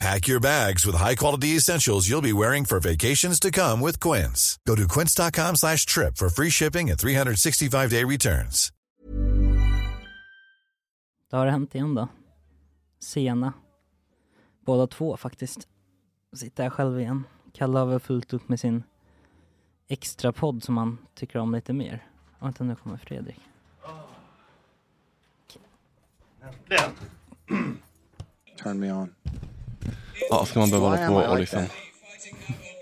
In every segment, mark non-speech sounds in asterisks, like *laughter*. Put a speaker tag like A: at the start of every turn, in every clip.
A: Pack your bags with high-quality essentials you'll be wearing for vacations to come with Quince. Go to quince.com slash trip for free shipping and 365-day returns.
B: Det har hänt igen då. Sena. Båda två faktiskt. Sitter jag själv igen. Kalle har väl fullt upp med sin extra podd som han tycker om lite mer. Vänta nu kommer Fredrik.
C: Turn me on.
D: Ja, ska man behöva
C: Why
D: hålla
C: am
D: på
C: I
D: och
C: like
D: liksom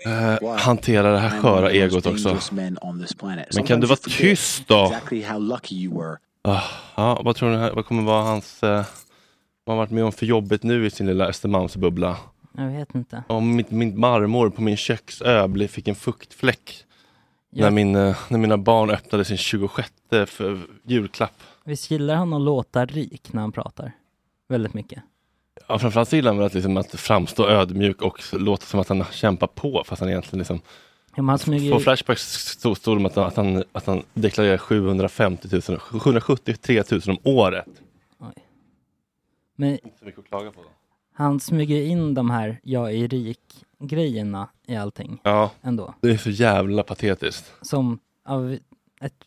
C: that?
D: eh, hantera det här sköra egot också. Men kan du vara tyst då?
C: Exactly how lucky you were.
D: Ah, ja, vad tror ni här, vad kommer vara hans... Eh, vad har varit med om för jobbigt nu i sin lilla Östermalmsbubbla?
B: Jag vet inte.
D: Om mitt, min marmor på min köksö blev- fick en fuktfläck
B: Jag,
D: när, min, eh, när mina barn öppnade sin 26 för julklapp.
B: Visst gillar han att låta rik när han pratar? Väldigt mycket.
D: Ja, framförallt så gillar han väl att, liksom, att framstå ödmjuk och s- låta som att han kämpar på fast han egentligen liksom
B: Ja, men han smyger
D: På
B: ju...
D: Flashbacks stod stod det att han, att, han, att han deklarerar 750 000, 773 000 om året.
B: Men
D: Inte så mycket att klaga på. Då.
B: han smyger ju in de här jag är rik-grejerna i allting
D: Ja,
B: ändå.
D: det är så jävla patetiskt.
B: Som av ett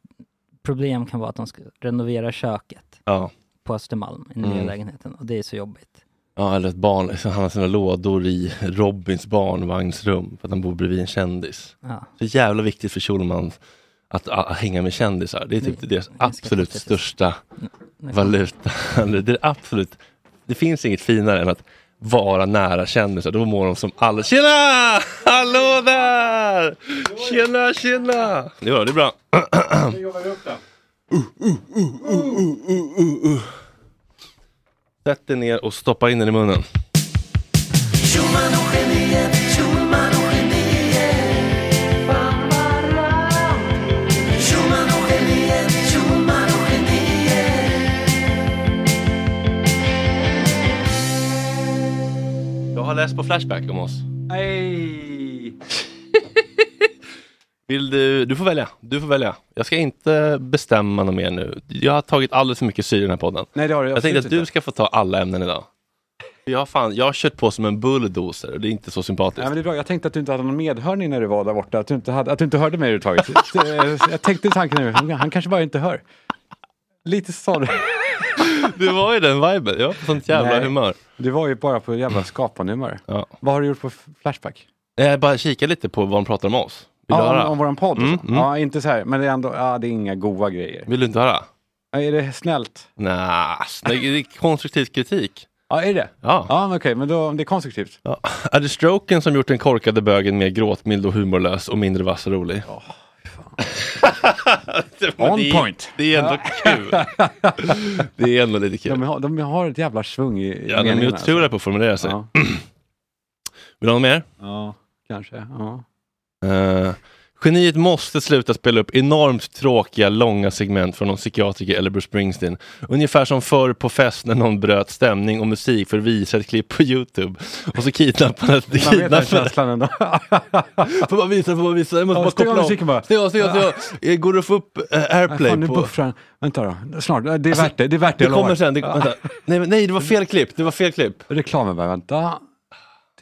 B: problem kan vara att de ska renovera köket
D: Ja,
B: på Östermalm i nya
D: Mm.
B: lägenheten och det är så jobbigt.
D: ja eller ett barn, liksom, han har sina lådor i Robins barnvagnsrum för att han bor bredvid en kändis.
B: Ja.
D: Så jävla viktigt för Schulman att, att, att hänga med kändisar. Det är typ
B: Mm. Det-
D: deras
B: ganska
D: absolut
B: patetiskt.
D: största
B: Liksom.
D: valuta. *laughs* Eller Det är absolut, det finns inget finare än att vara nära kändisar. Då mår de som alla. Tjena! Hallå där! Tjena, tjena! Det var det är bra. Uh, uh, uh, uh. Sätt dig ner och stoppa in den i munnen. Jag har läst på Flashback om oss. Vill du, du får välja. Du får välja. Jag ska inte bestämma något mer nu. Jag har tagit alldeles för mycket syre i den här podden.
E: Nej, det har du
D: Jag tänkte
E: absolut
D: att du
E: inte.
D: ska få ta alla ämnen idag. Jag har, fan, jag har kört på som en bulldozer och det är inte så sympatiskt.
E: Nej, men det är bra. Jag tänkte att du inte hade någon medhörning när du var där borta, att du inte, hade, att du inte hörde mig
D: *laughs*
E: överhuvudtaget. Det- jag tänkte tanken nu, han han kanske bara inte hör. Lite sån.
D: Du var ju den viben. Jag var på sånt jävla
E: Nej.
D: humör.
E: Du var ju bara på jävla skapande
D: Ja.
E: Vad har du gjort på Flashback?
D: Jag bara kikade lite på vad de pratar om oss. Vill du
E: Ja,
D: höra?
E: om, om våran podd? och
D: Mm,
E: så.
D: mm.
E: Ja, inte så här, men det är ändå, ja, det är inga goa grejer.
D: Vill du inte höra?
E: Ja, Är det snällt?
D: Nja, det är konstruktiv kritik.
E: Ja, är det
D: Ja.
E: Ja, men okej, men då, om det är konstruktivt.
D: Ja. Är det stroken som gjort den korkade bögen mer gråtmild och humorlös och mindre vass och rolig? Men
E: On
D: *laughs* det är-
E: point.
D: Det är ändå kul. Det är ändå lite kul.
E: *laughs* De har, de har ett jävla svung i i
D: Ja, de är
E: meningarna, alltså.
D: otroliga på att formulera sig.
E: Ja,
D: Vill du ha något mer?
E: ja, kanske. Ja.
D: Eh, Geniet måste sluta spela upp enormt tråkiga, långa segment från någon psykiatriker eller Bruce Springsteen. Ungefär som förr på fest när någon bröt stämning och musik för att visa ett klipp på Youtube. Och så kidnappade...
E: Man vet den
D: kidnappade
E: känslan ändå.
D: *laughs*
E: *laughs*
D: får bara visa, får bara visa. Jag måste
E: Ja,
D: bara
E: stäng av
D: koppla av.
E: musiken bara.
D: Stäng av, stäng av, stäng av. Eh, Går det att få upp eh, airplay
E: Fan, nu
D: på...
E: buffrar han. Vänta då, snart. Det är värt Alltså, det, det är värt
D: Det
E: det. jag lovar.
D: kommer sen. Det, vänta. Nej, men, nej, det var fel klipp. Det var fel klipp.
E: Reklamen bara, vänta.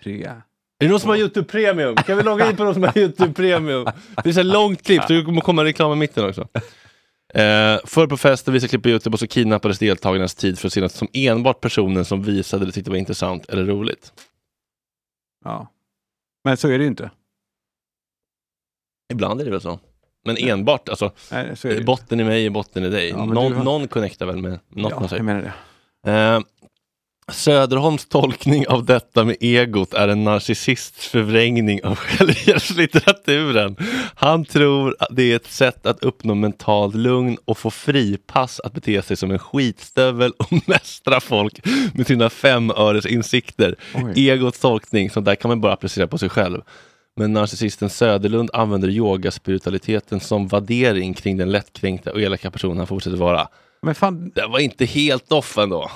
E: Tre.
D: Är det någon som har Youtube Premium? Kan vi logga in på någon som har Youtube Premium? Det är så här långt klipp, så det kommer komma reklam i mitten också. Eh, förr på festen visade klipp på Youtube och så kidnappades deltagarnas tid för att synas som enbart personen som visade det tyckte var intressant eller roligt.
E: Ja. Men så är det ju inte.
D: Ibland är det väl så. Men enbart, alltså
E: Nej, så är det ju.
D: botten i mig är botten i dig.
E: Ja, men du
D: någon,
E: har-
D: någon connectar väl med något typ. man
E: ja,
D: säger.
E: jag menar det.
D: Eh, Söderholms tolkning av detta med egot är en narcissists förvrängning av *laughs* självhjälpslitteraturen. Han tror att det är ett sätt att uppnå mentalt lugn och få fripass att bete sig som en skitstövel och *laughs* mästra folk med sina femöres insikter.
E: Oj.
D: Egots tolkning, så där kan man bara applicera på sig själv. Men narcissisten Söderlund använder yogaspiritualiteten som värdering kring den lättkränkta och elaka personen han fortsätter vara.
E: Men fan,
D: Det var inte helt off ändå.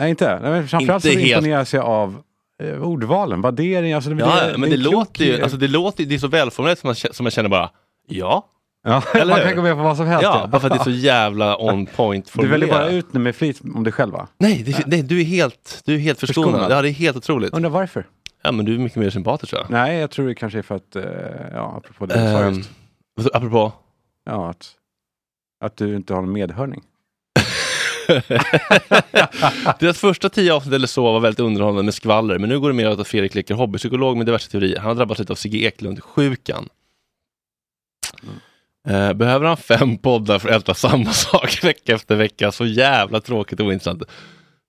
E: nej inte. Nej, men framförallt
D: Inte
E: så
D: helt.
E: imponeras jag av eh, ordvalen, värdering. Alltså,
D: Ja, ja, men det,
E: är en
D: låter ju,
E: klok-
D: alltså det låter ju, det är så välformulerat som man, kä- som man känner bara, ja,
E: ja,
D: *laughs* eller
E: man
D: hur?
E: kan gå med på vad som helst.
D: ja, bara för att det är så jävla on point
E: du väljer bara
D: formulerat.
E: ut nu med flit om dig själv va?
D: Nej, det, nej, du är helt, du är helt förskonad.
E: Förskonad.
D: Ja, det är helt otroligt.
E: Undrar varför?
D: Ja, men du är mycket mer sympatisk tror jag.
E: Nej, jag tror det kanske är för att, eh, ja, apropå det du sa
D: Ehm,
E: just.
D: vad- apropå,
E: Ja, att, att du inte har någon medhörning.
D: *laughs* deras första tio avsnitt eller så var väldigt underhållande med skvaller, men nu går det mer åt att Fredrik leker hobbypsykolog med diverse teorier. Han har drabbats lite av Sigge Eklund-sjukan. Eh, Behöver han fem poddar för att älta samma *laughs* sak vecka efter vecka? Så jävla tråkigt och ointressant.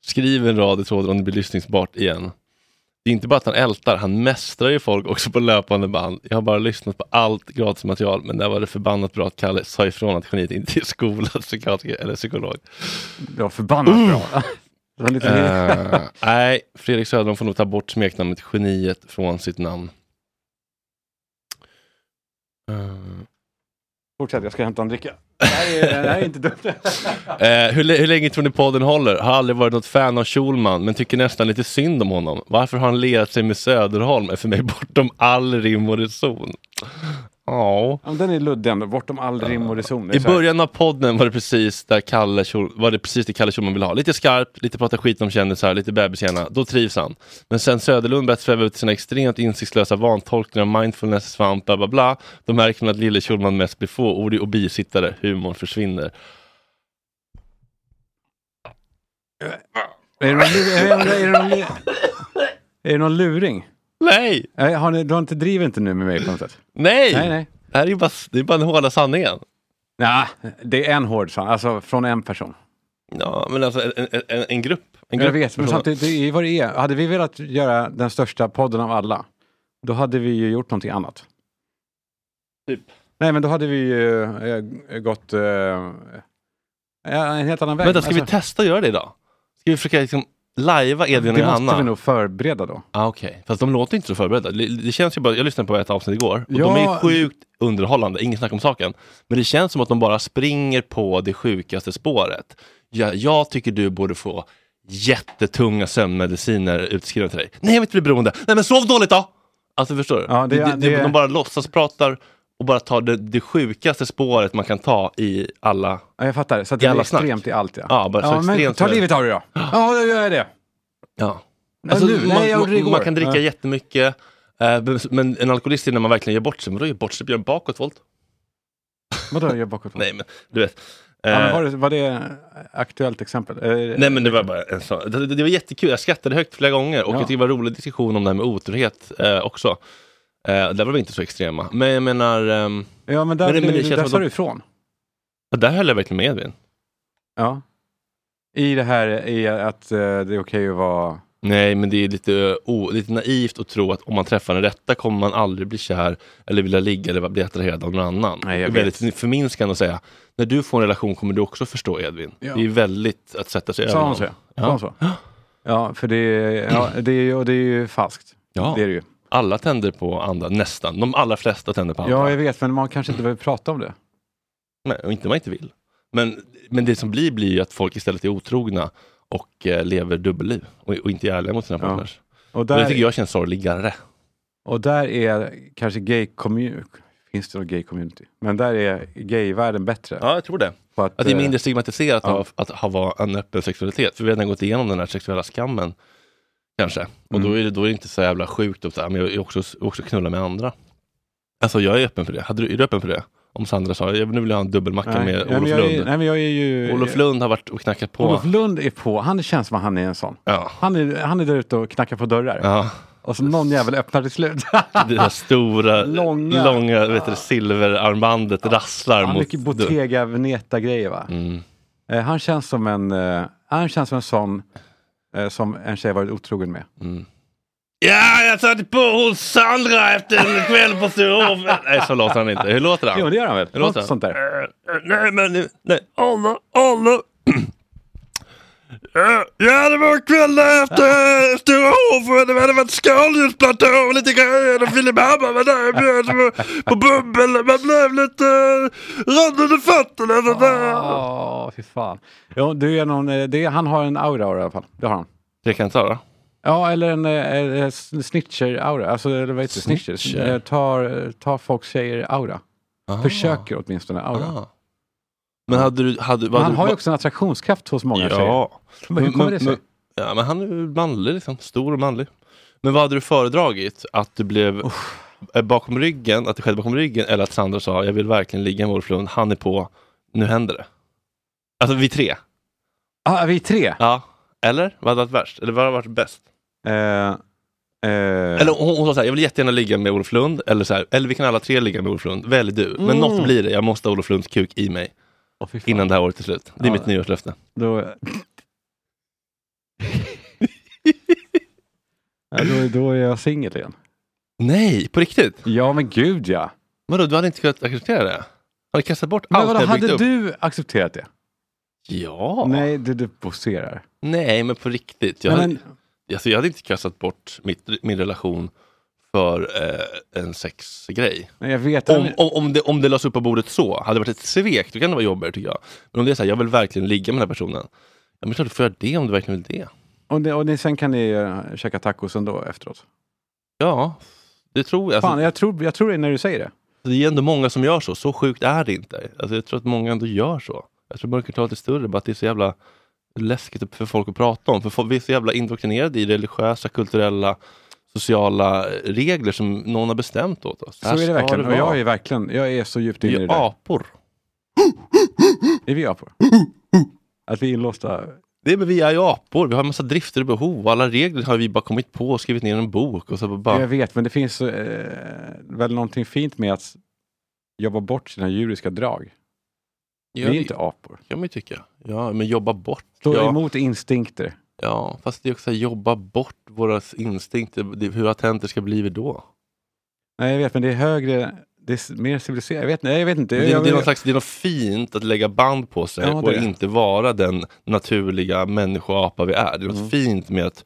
D: Skriv en rad i tråden om det blir lyssningsbart igen. Det är inte bara att han ältar, han mästrar ju folk också på löpande band. Jag har bara lyssnat på allt gratismaterial, men där var det förbannat bra att Kalle sa ifrån att geniet inte är skolad *laughs* psykiatriker eller psykolog.
E: Ja, förbannat bra. Mm. Det var lite mer-
D: Eh, nej, Fredrik Söderholm får nog ta bort smeknamnet Geniet från sitt namn. Eh,
E: Fortsätt, jag ska hämta en dricka. Det här är, det här är inte dumt.
D: eh, hur, lä- hur länge tror ni podden håller? Har aldrig varit något fan av Schulman, men tycker nästan lite synd om honom. Varför har han lerat sig med Söderholm är för mig bortom all rim och reson. Ja.
E: Ja, men Den är luddig ändå, bortom all rim och reson. Det är
D: I
E: så här-
D: början av podden var det precis där Kalle Schul- var det precis det Kalle Schulman ville ha. Lite skarp, lite prata skit om kändisar, lite bebishjärna. Då trivs han. Men sen Söderlund börjat sväva ut sina extremt insiktslösa vantolkningar av mindfulness, svamp, bla bla bla. Då märker man att lille Schulman mest blir fåordig och bisittare. Humorn försvinner.
E: Är det någon lu- är det- är det någon lu- är det någon luring?
D: Nej!
E: Nej, Har ni, du har inte, driver inte nu med mig på något sätt?
D: Nej!
E: Nej, nej.
D: Det här är ju bara, det är bara den hårda sanningen.
E: Nej, det är en hård sanning, alltså från en person.
D: Ja, men alltså en, en- en, en grupp. En grupp
E: Jag vet, Eh, men
D: personer.
E: samtidigt, det är vad det är. Hade vi velat göra den största podden av alla, då hade vi ju gjort någonting annat.
D: Typ.
E: Nej, men då hade vi ju eh, gått eh, ja, en helt annan väg.
D: Vänta, ska vi
E: Alltså,
D: testa att göra det idag? Ska vi försöka liksom lajva Edvin och
E: det
D: Johanna?
E: måste vi nog förbereda då.
D: Ah, Okej, fast de låter inte så förberedda. Det, det känns ju bara, jag lyssnade på ett avsnitt igår och
E: Ja.
D: de är sjukt underhållande, inget snack om saken. Men det känns som att de bara springer på det sjukaste spåret. Jag, jag tycker du borde få jättetunga sömnmediciner utskrivna till dig. Nej, jag vill inte bli beroende. Nej, men sov dåligt då! Alltså förstår du?
E: Ja, det-
D: det, det,
E: det-
D: De bara låtsas pratar och bara tar det, det sjukaste spåret man kan ta i alla...
E: Ja, jag fattar. Så att det är
D: Jävla snack.
E: extremt i allt, ja.
D: Ja, bara så
E: ja men
D: extremt
E: ta
D: så är det.
E: livet av
D: *gasps*
E: dig då. Ja, då gör jag det.
D: Ja.
E: Ja,
D: Alltså,
E: nu.
D: man,
E: Nej, jag gjorde det
D: man,
E: igår.
D: man kan dricka
E: Ja.
D: jättemycket, eh, men en alkoholist är när man verkligen gör bort sig. Men då gör jag bort sig, gör en bakåtvolt.
E: Vadå, gör bakåt?
D: Nej, men du vet. Eh,
E: Ja, men var, det, var det aktuellt exempel? Eh,
D: Nej men det var bara en sån. Det, det var jättekul, jag skrattade högt flera gånger och
E: Ja.
D: jag tyckte det var en rolig diskussion om det här med otrohet eh, också. Eh, där var vi inte så extrema. Men jag menar, ehm,
E: Ja, men där,
D: Men det- men det
E: blev-
D: känns
E: där
D: som
E: sa
D: att de-
E: du ifrån.
D: där höll jag verkligen med Edvin.
E: Ja. I det här i att eh, det är okej att vara...
D: Nej, men det är lite, eh, o, lite naivt att tro att om man träffar den rätta kommer man aldrig bli kär eller vilja ligga eller bli attraherad av någon annan.
E: Nej, jag
D: det är väldigt förminskande att säga, när du får en relation kommer du också förstå Edvin.
E: Ja.
D: Det är väldigt att sätta sig över
E: Sa hon
D: någon.
E: så? Sa hon så? Ja, för det, är- ja, det, är, ju- och det är ju falskt.
D: Ja.
E: Det är det ju.
D: alla tänder på andra, nästan. De allra flesta tänder på andra.
E: Ja, jag vet, men man kanske inte behöver prata om det.
D: Nej, och inte om man inte vill. Men, men det som blir blir ju att folk istället är otrogna och eh, lever dubbelliv och, och inte är ärliga mot sina
E: Ja.
D: partners.
E: Och
D: Och Det tycker
E: där,
D: jag känns sorgligare.
E: och där är kanske gay community, finns det någon gay community? Men där är gayvärlden bättre.
D: Ja, jag tror det.
E: På att,
D: Att det är
E: eh,
D: mindre stigmatiserat
E: Ja.
D: av att ha var en öppen sexualitet. För vi har redan gått igenom den här sexuella skammen. Kanske. Och
E: Mm.
D: då, är det, då är det inte så jävla sjukt att så här, men jag är också, också knulla med andra. Alltså jag är öppen för det. Hade du, är du öppen för det? Om Sandra sa, jag nu vill jag ha en dubbelmacka
E: eh, nej,
D: med
E: nej,
D: Olof
E: men jag
D: Lund.
E: är, nej, men jag är ju...
D: Olof Lund har varit och knackat på.
E: Olof Lund är på, han känns som att han är en sån.
D: Ja.
E: Han är, han är där ute och knackar på dörrar.
D: ja.
E: Och så någon jävel öppnar till slut. *laughs*
D: Det där stora, långa,
E: Långa.
D: vet du, silverarmbandet rasslar
E: Han har
D: mot...
E: mycket Bottega Veneta-grejer va?
D: Mm.
E: Eh, han, känns som en, eh, han känns som en sån eh, som en tjej varit otrogen med.
D: Ja, jag satt på hos Sandra efter en kväll på Sturehof. Nej, så låter han inte. Hur låter han?
E: Jo, det gör han väl?
D: Hur låter
E: Något
D: han?
E: sånt där.
D: Eh, eh, Nej, men nu- nej. Anna, Anna. *clears throat* Eh, Ja, det var kvällen efter Sturehof och det hade varit skaldjursplatå och lite grejer och Filiphammar var där och bjöd på, på bubbel. Man blev lite eh, röd under fötterna. så där.
E: Åh, fy fan. Jo, det är någon, eh, det, han har en aura i alla fall. Det har han.
D: Trekantar då?
E: Ja, eller en eh, eh, sn- snitcher-aura. Alltså, eller vad heter det? Snitcher?
D: Snitcher?
E: Eh, Tar, tar folks tjejer-aura. Försöker åtminstone aura.
D: Ah. Men hade du... Hade,
E: Men
D: vad-
E: han har ju
D: vad-
E: också en attraktionskraft hos många tjejer.
D: Ja.
E: Men hur kommer det sig?
D: Men, ja, men han är ju manlig, liksom. stor och manlig. Men vad hade du föredragit? Att du blev eh, bakom ryggen, att det skedde bakom ryggen, eller att Sandra sa jag vill verkligen ligga med Olof Lund, han är på, nu händer det. Alltså vi tre.
E: Ah, vi är tre.
D: Ja. Eller? Vad hade varit värst? Eller vad hade varit bäst?
E: Eh, eh,
D: Eller hon, hon sa så här, jag vill jättegärna ligga med Olof Lund, eller så här, eller vi kan alla tre ligga med Olof Lund, välj du. Men
E: Mm.
D: något blir det, jag måste ha Olof Lunds kuk i mig
E: åh, fy fan.
D: innan det här året är slut. Det är
E: Ja.
D: mitt nyårslöfte.
E: Då... ja, då, då är jag singel igen.
D: Nej, på riktigt?
E: Ja, men gud ja.
D: Vadå, du hade inte kunnat acceptera det? Har du kastat bort
E: Men
D: allt
E: vadå,
D: jag byggt
E: hade
D: upp?
E: du accepterat det?
D: Ja.
E: Nej, du, du poserar.
D: Nej, men på riktigt. Jag,
E: Nej, men,
D: hade, alltså, jag hade inte kastat bort mitt, min relation för eh, en sexgrej.
E: nej, jag vet.
D: Om, om, om, det, om det lades upp på bordet så, hade det varit ett svek, då kan det vara jobbigare tycker jag. Men om det är så här, jag vill verkligen ligga med den här personen. Ja, men klart du får göra det om du verkligen vill det.
E: och, ni, och ni, sen kan ni uh, käka tacos ändå efteråt.
D: Ja, det tror jag.
E: Fan,
D: Alltså,
E: jag tror, jag tror det när du säger det.
D: det är ändå många som gör så, så sjukt är det inte. Alltså, jag tror att många ändå gör så. Jag tror mörkertalet är större, bara att det är så jävla läskigt för folk att prata om. För folk- vi är så jävla indoktrinerade i religiösa, kulturella, sociala regler som någon har bestämt åt oss.
E: Så är det verkligen. och jag är verkligen, jag är så djupt inne i det där.
D: apor.
E: Är vi apor? Att vi är inlåsta.
D: Det är, men vi är ju apor, vi har en massa drifter och behov. Alla regler har vi bara kommit på och skrivit ner i en bok. Och så bara,
E: Jag vet, men det finns eh, väl någonting fint med att jobba bort sina djuriska drag.
D: Ja,
E: vi
D: det
E: är inte apor.
D: kan man ju tycka. Ja, men jobba bort.
E: Stå
D: ja.
E: emot instinkter.
D: Ja, fast det är också så här, jobba bort våra instinkter, det, hur attentor ska bli vi då.
E: Nej, jag vet, men det är högre, det är s- mer civiliserat. Jag vet, nej, jag vet inte.
D: Det,
E: jag,
D: det, är något slags, det är något fint att lägga band på sig
E: Ja, det
D: och
E: är det.
D: inte vara den naturliga människoapa vi är. Det är något
E: Mm.
D: fint med att,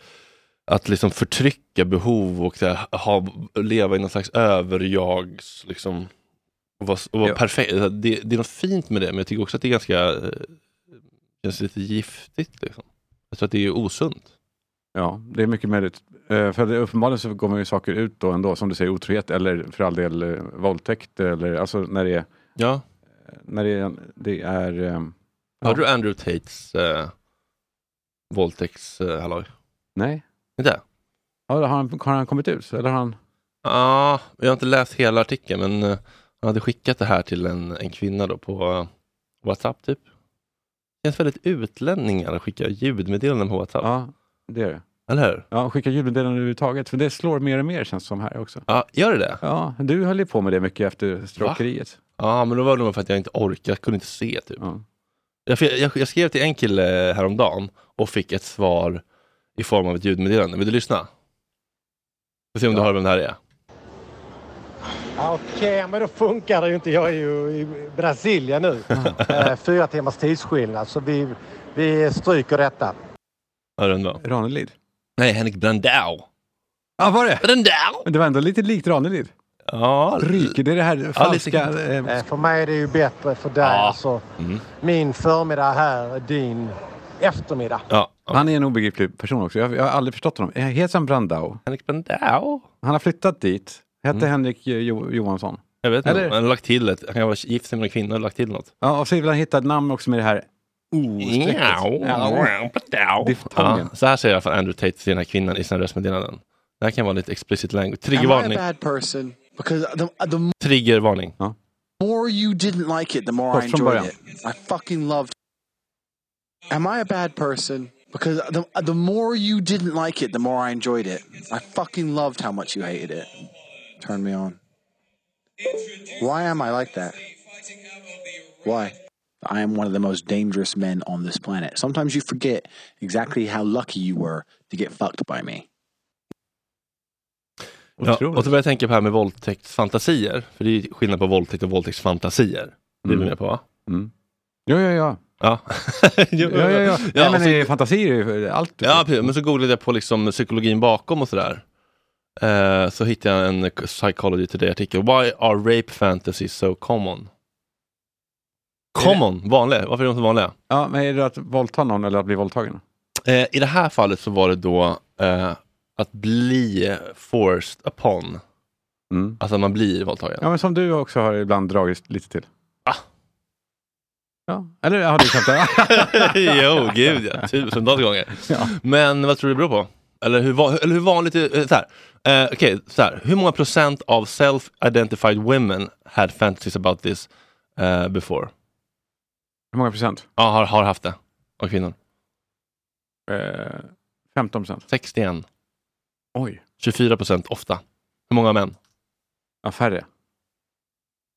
D: att liksom förtrycka behov och så här, ha, leva i någon slags överjags... Liksom, och vara, och vara
E: Ja.
D: perfekt. Det, det är något fint med det, men jag tycker också att det är ganska... eh, känns lite giftigt. Liksom. Jag tror att det är osunt.
E: ja, det är mycket möjligt. Eh, för det, uppenbarligen så kommer ju saker ut då ändå, som du säger, otrohet eller för all del eh, våldtäkt eller alltså när det är,
D: Ja.
E: när det är, det är eh,
D: Hörde du Andrew Tates eh, våldtäktshalloj?
E: nej.
D: Inte?
E: Ja, har, han, har han kommit ut? Eller har han,
D: Ja, jag har inte läst hela artikeln, men eh, han hade skickat det här till en, en kvinna då på eh, WhatsApp typ. Det känns väldigt utlänningar att skicka ljudmeddelanden på WhatsApp,
E: ja, det är det.
D: eller hur?
E: Ja, skicka julmeddelanden överhuvudtaget, för det slår mer och mer känns det som här också.
D: Ja, gör det det? Ja,
E: Ja, du höll ju på med det mycket efter stråkeriet.
D: men då var det nog för att jag inte orkade, jag kunde inte se typ.
E: Ja.
D: Jag, jag, jag skrev till en kille häromdagen och fick ett svar i form av ett ljudmeddelande. Vill du lyssna? Vi får se om du hör vem det här är.
F: Okej, men då funkar det ju inte. Jag är ju i Brasilien nu. Eh, Fyra timmars tidsskillnad, så vi, vi stryker detta.
D: Hör du vem det var?
E: Ranelid.
D: Nej, Henrik Brandao.
E: Ja, var det?
D: Den där!
E: Men det var ändå lite likt Ranelid.
D: Ja,
E: Ryker det är det här falska... eh,
F: Eh, För mig är det ju bättre för dig. Alltså, Min förmiddag här är din eftermiddag.
D: ja.
E: han är en obegriplig person också. Jag, jag har aldrig förstått honom. Eh, Heter han Brandau?
D: Henrik Bendau.
E: Han har flyttat dit. Hette Henrik eh, jo, Johansson.
D: Jag vet inte,
E: Eller-
D: han har lagt till ett. Han kan vara gift med en kvinna och lagt till något.
E: Ja, och så vill han hitta ett namn också med det här
D: Ja.
E: Diftongen.
D: Ja, Så här säger i alla fall Andrew Tate till den här kvinnan i sina röstmeddelanden. Det här kan vara lite explicit language.
G: Am I a
D: Triggervarning.
G: bad person? Because the, the
D: Triggervarning.
G: more you didn't like it, the more
E: Först
G: I
E: från
G: enjoyed
E: början.
G: it. I fucking loved. Am I a bad person? Because the the more you didn't like it, the more I enjoyed it. I fucking loved how much you hated it.
C: Turn me on.
G: Why am I like that?
C: Why?
G: I am one of the most dangerous men on this planet. Sometimes you forget exactly how lucky you were to get fucked by me.
D: Ja,
E: Otroligt.
D: och så börjar jag tänka på det här med våldtäktsfantasier. För det är ju skillnad på våldtäkt och våldtäktsfantasier. Det är du
E: Mm.
D: med på va?
E: Ja, ja, ja.
D: Ja. Jo,
E: ja, ja, ja. Nej,
D: och
E: men
D: så-
E: eh, fantasier är ju allt.
D: Ja, precis. men så googlade jag på liksom psykologin bakom och sådär. Eh, så hittade jag en Psychology Today-artikel. Why are rape fantasies so common? Common? Vanliga? Varför är de så vanliga?
E: Ja, men är det att våldta någon eller att bli våldtagen?
D: Eh, I det här fallet så var det då eh, att bli forced upon.
E: Mm.
D: Alltså att man blir våldtagen.
E: Ja, men som du också har ibland dragit lite till.
D: Ah.
E: Ja, eller har du skämtat?
D: *laughs*
E: *laughs*
D: jo, gud ja. Tusentals gånger.
E: Ja.
D: Men vad tror du det beror på? Eller hur, va- eller hur vanligt är eh, så här. Eh, Okej, så här. Hur många procent av self-identified women had fantasies about this eh, before?
E: Hur många procent?
D: Ja, har, har haft det. Av kvinnor.
E: Eh, 15 procent.
D: 61.
E: Oj.
D: 24 procent ofta. Hur många män?
E: Ja, färre.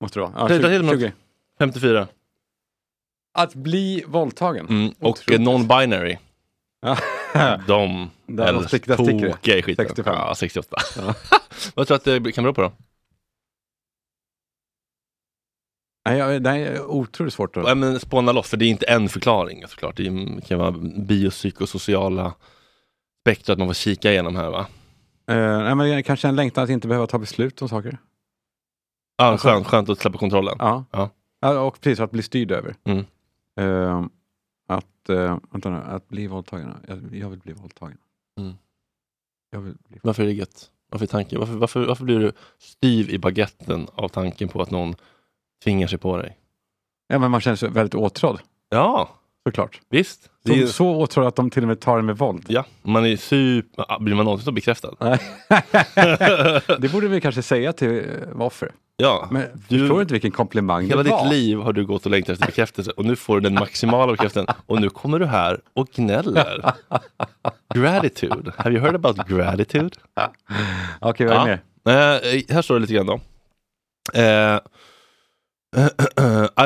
E: Måste det vara. Ja,
D: Det- det är till och
E: 20,
D: med-
E: 20.
D: 54.
E: Att bli våldtagen?
D: Mm. Och eh,
E: Otroligt. *laughs*
D: non-binary.
E: Ja.
D: De
E: Där
D: eller
E: de stick- där sticker det.
D: tokiga i skiten.
E: 65.
D: Ja, 68.
E: Ja.
D: *laughs* vad tror du att det kan bero på då?
E: Nej, jag- det här är otroligt svårt Eh, att...
D: Ja, men spåna loss, för det är inte en förklaring såklart. Det kan vara biopsykosociala spektrat man får kika igenom här va?
E: Eh, nej, men kanske en längtan att inte behöva ta beslut om saker.
D: Ja, skönt, skönt att släppa kontrollen.
E: Ja.
D: Ja.
E: och precis, att bli styrd över.
D: Mm.
E: Eh, att, eh, vänta nu, att bli våldtagen. Jag, jag vill bli våldtagen.
D: Mm.
E: Jag vill bli...
D: Varför är det gött? Varför, är tanken? Varför, varför, varför blir du styv i baguetten av tanken på att någon tvingar sig på dig?
E: Ja, men man känner sig väldigt åtrådd,
D: Ja,
E: såklart.
D: visst. Det
E: Så,
D: är, ju-
E: så åtrådd att de till och med tar en med våld.
D: ja, man är super... ah, Blir man någonsin så bekräftad?
E: det borde vi kanske säga till eh, varför.
D: *laughs* Ja,
E: Men
D: Du-
E: förstår du inte vilken komplimang
D: hela
E: det var?
D: ditt liv har du gått och längtat efter bekräftelse och nu får du den maximala bekräftelsen och nu kommer du här och *laughs* gnäller. Gratitude. Have you heard about gratitude?
E: Okej, vad är
D: Ja.
E: mer?
D: Eh, här står det lite grann då. Eh, *clears throat*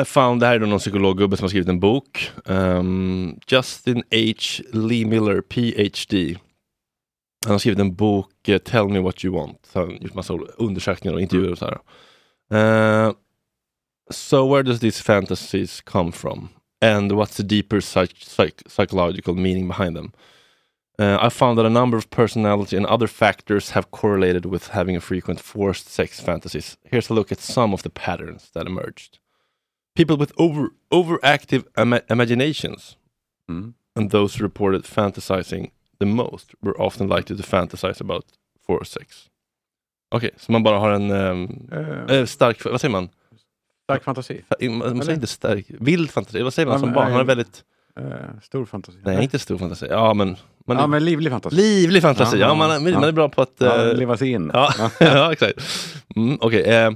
D: I found, det här är då någon psykologgubbe som har skrivit en bok. Ehm, Justin H. Lee Miller, PhD. Han har skrivit en bok, eh, Tell me what you want. Så han har gjort massa undersökningar och intervjuer och så här. Eh, so where does these fantasies come from? And what's the deeper psych- psych- psychological meaning behind them? Uh, I found that a number of personality and other factors have correlated with having a frequent forced sex fantasies. Here's a look at some of the patterns that emerged. People with over overactive ima- imaginations
E: Mm.
D: and those reported fantasizing the most were often likely to fantasize about forced sex. Okej, så man bara har en ehm,
E: Eh,
D: eh, stark, vad säger man?
E: stark fantasi.
D: Fa- Man
E: Eller?
D: säger inte stark, vild fantasi, vad säger man
E: Ja,
D: som
E: men,
D: barn? Man har
E: eh,
D: väldigt,
E: Eh, stor fantasi.
D: nej inte stor fantasi, ja men, man är,
E: Ja, men livlig fantasi.
D: livlig fantasi,
E: Ja,
D: ja, man, man
E: ja.
D: är bra på att
E: ja,
D: eh,
E: leva sig in.
D: Ja, *laughs* ja exakt. Mm, Okej. eh,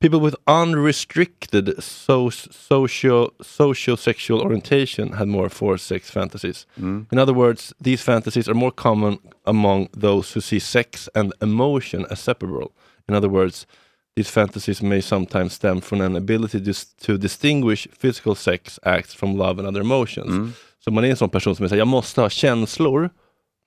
D: people with unrestricted so socio socio-sexual orientation had more forced sex fantasies.
E: Mm.
D: In other words, these fantasies are more common among those who see sex and emotion as separable. In other words, these fantasies may sometimes stem from an ability dis- to distinguish physical sex acts from love and other emotions.
E: Mm.
D: Så man är en sån person som är såhär, jag måste ha känslor,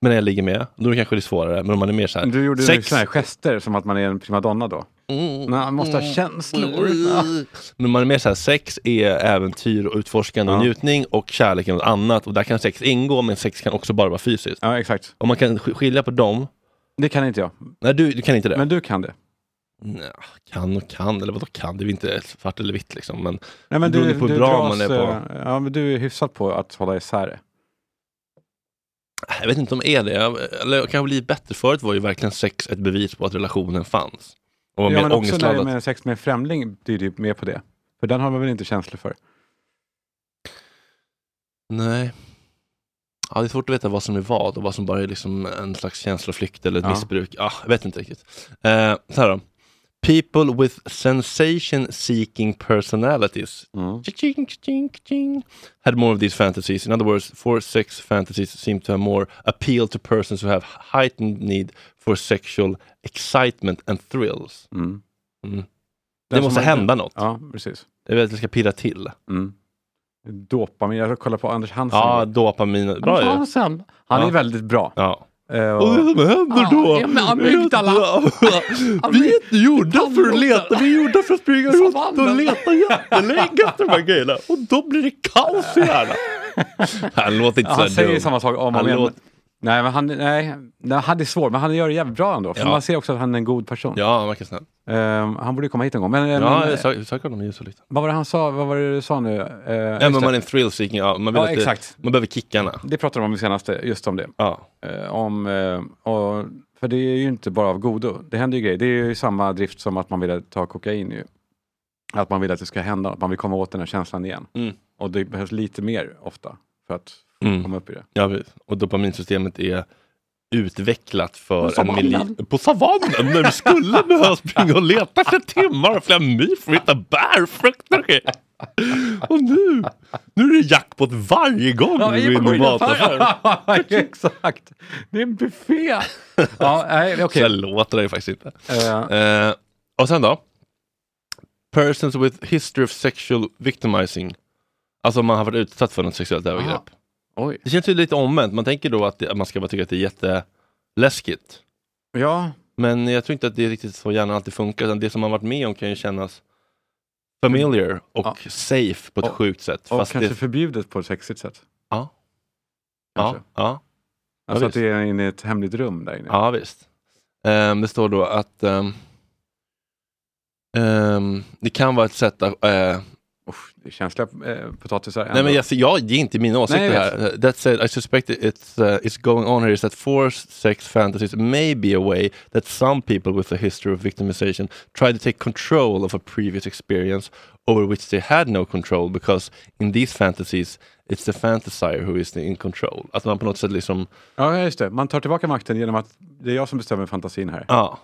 D: men när jag ligger med, då kanske det är svårare. Men om man är mer såhär,
E: Du gjorde
D: sex,
E: sådana här gester som att man är en primadonna då. Nej, man måste ha känslor. Ja.
D: Mm. Men man är mer såhär, sex är äventyr och utforskande och
E: Ja.
D: njutning och kärlek är något annat. Och där kan sex ingå, men sex kan också bara vara fysiskt.
E: Ja, exakt.
D: Om man kan sk- skilja på dem
E: Det kan inte jag,
D: Nej, du, du kan inte det.
E: men du kan det.
D: Nja, kan och kan, eller vadå kan? Det är väl inte svart eller vitt liksom. Men
E: Nej, men
D: Det beror
E: du,
D: på hur
E: du,
D: bra
E: dras,
D: man är på.
E: eh, Ja, men du är hyfsat på att hålla isär det.
D: äh, jag vet inte om jag är det. Jag, eller jag kanske blir bättre. Förut var ju verkligen sex ett bevis på att relationen fanns. Och var
E: Ja,
D: mer
E: men också när det är
D: ångestladdat.
E: med sex med en främling, det är ju typ mer på det. För den har man väl inte känslor för?
D: Nej. Ja, det är svårt att veta vad som är vad och vad som bara är liksom en slags känsloflykt eller ett
E: Ja.
D: missbruk. Ah, jag vet inte riktigt. Eh, så här då. People with sensation seeking personalities Cha-ching, cha-ching, cha-ching. had more of these fantasies. In other words, four sex fantasies seem to have more appeal to persons who have heightened need for sexual excitement and thrills.
E: Mm.
D: Mm.
E: Den
D: Det måste
E: som har-
D: hända något.
E: Ja, precis.
D: Jag vet att det ska pirra till.
E: Mm. Dopamin, jag kollar på Anders Hansen.
D: Ja, dopamin. Bra
E: Anders
D: ju.
E: Hansen, han
D: Ja.
E: är väldigt bra.
D: Ja.
E: Eh,
D: Och
E: och-
D: det som händer då?
E: Ja, men amygdala. *laughs*
D: vi är inte gjorda för att leta, vi är gjorda för att springa runt och leta jättelänge efter de
E: *laughs*
D: här grejerna. Och då blir det kaos i hjärnan. *laughs* Han låter inte
E: Ja, han
D: så här
E: säger
D: dum.
E: samma sak om och
D: Han
E: om igen.
D: låt-
E: Nej, men han, nej, nej, han är svår, men han gör det jävligt bra ändå. För
D: Ja.
E: man ser också att han är en god person.
D: Ja, han verkar snäll.
E: Eh, han borde komma hit en gång. Men, eh,
D: Ja,
E: men,
D: jag sö- söker honom i ljus och lite.
E: vad var det han sa? Vad var det du sa nu? Eh,
D: Ja,
E: just
D: men
E: det.
D: man är en thrill seeking, ja, man, vill
E: Ja,
D: att det-
E: exakt.
D: man behöver kickarna.
E: det pratade de om i senaste, just om det.
D: Ja.
E: Eh, om, eh, och, för det är ju inte bara av godo. Det händer ju grejer. Det är ju samma drift som att man vill ta kokain. Ju. Att man vill att det ska hända att man vill komma åt den här känslan igen.
D: Mm.
E: Och det behövs lite mer ofta för att
D: Mm.
E: komma upp i det.
D: ja, precis. och dopaminsystemet är utvecklat för en
E: savannen.
D: miljon... På savannen! När du skulle behöva springa och leta efter timmar och flera mil för att hitta bär, frukter och grejer. Och nu, nu är det jackpot varje gång du går in i mataffären. *laughs*
E: Exakt! Det är en buffé! ja, nej,
D: Så
E: okej.
D: här låter det ju faktiskt inte.
E: Eh,
D: Eh, och sen då? Persons with history of sexual victimizing. Alltså om man har varit utsatt för något sexuellt övergrepp.
E: oj.
D: Det känns ju lite omvänt. Man tänker då att, det, att man ska bara tycka att det är jätteläskigt.
E: Ja,
D: Men jag tror inte att det är riktigt så hjärnan alltid funkar. Utan det som man varit med om kan ju kännas familiar och
E: Ja.
D: safe på ett
E: Och-
D: sjukt sätt.
E: och
D: Fast
E: kanske
D: det,
E: förbjudet på ett sexigt sätt.
D: Ja. ja,
E: Kanske.
D: ja,
E: Alltså att
D: visst.
E: det är inne i ett hemligt rum där inne.
D: ja, visst. Ehm, det står då att ehm, ehm, det kan vara ett sätt att eh,
E: Usch, det är känsliga eh, potatisar.
D: Nej, men
E: ändå.
D: jag, jag ger inte mina åsikter
E: Nej, jag
D: här. Eh, That said, I suspect it's, uh, it's going on here is that forced sex fantasies may be a way that some people with a history of victimization try to take control of a previous experience over which they had no control because in these fantasies it's the fantasizer who is in control. Att man på något sätt liksom,
E: Ja, just det. Man tar tillbaka makten genom att det är jag som bestämmer fantasin här.
D: ja,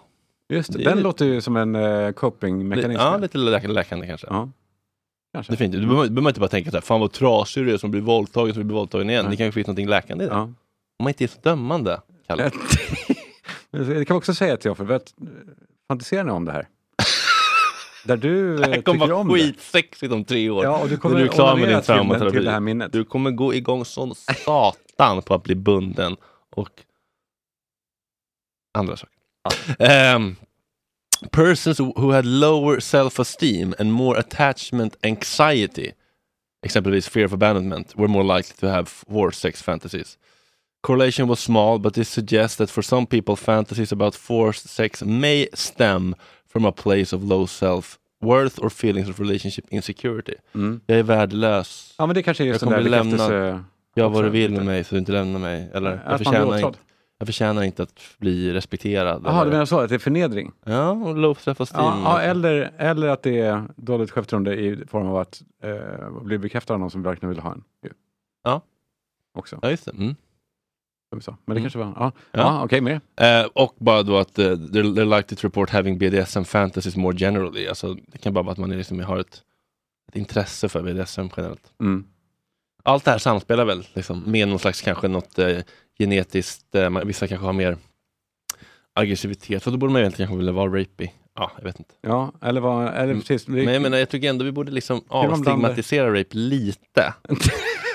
E: Just det.
D: Det är
E: Den
D: lite-
E: låter ju som en uh, copingmekanism.
D: ja lite läk- läkande kanske.
E: Ja. Kanske.
D: Det är fint. Du behöver, behöver inte bara tänka så här, fan vad trasig du är som blir våldtagen som blir våldtagen igen.
E: Nej.
D: Det kanske finns något läkande i det.
E: Ja.
D: Om man inte är så dömande,
E: *laughs*
D: Kalle.
E: det kan vi också säga till Offer, vet, fantiserar ni om
D: *laughs*
E: det här? Där du eh,
D: Det *laughs* kommer
E: tycker om
D: vara skitsexigt om tre
E: det.
D: år.
E: Ja, och du
D: När
E: kommer
D: du är klar med din
E: onanera till, den-
D: traumaterapi.
E: till det här minnet.
D: Du kommer gå igång som satan på att bli bunden och andra saker. Ehm, persons who had lower self-esteem and more attachment anxiety, exempelvis fear of abandonment, were more likely to have forced sex fantasies. Correlation was small, but this suggests that for some people, fantasies about forced sex may stem from a place of low self-worth or feelings of relationship insecurity.
E: Mm.
D: Jag är värdelös.
E: Ja, men det kanske är
D: Jag
E: just den
D: kommer
E: där
D: bli lämnad.
E: bekräftelse...
D: Gör vad du
E: Också
D: vill
E: lite.
D: med mig så du inte lämnar mig. Eller, jag,
E: Att man blir
D: förtjänar inte,
E: åtrådd.
D: jag förtjänar inte att bli respekterad.
E: Jaha, du
D: eller,
E: menar så? Att det är förnedring?
D: Ja, och low self-esteem.
E: Ja, ja eller, eller att det är dåligt självförtroende i form av att eh, bli bekräftad av någon som verkligen vill ha en. ju.
D: Ja.
E: Också,
D: Ja, just det. Mm.
E: som vi sa. Men det
D: Mm.
E: kanske var... Ja,
D: Ja.
E: ja. okej, mer.
D: Eh, och bara då att eh, they're, they're likely to report having BDSM fantasies more generally. Alltså, det kan bara vara att man är liksom har ett, ett intresse för BDSM generellt.
E: Mm.
D: Allt det här samspelar väl liksom, med någon slags kanske något eh, genetiskt, eh, man, vissa kanske har mer aggressivitet, så då borde man ju egentligen kanske vilja vara rapey. Ja, jag vet inte.
E: Ja, eller vad... Eller
D: Mm.
E: precis.
D: Men jag menar, jag tycker ändå vi borde liksom
E: man blanda-
D: avstigmatisera rape lite.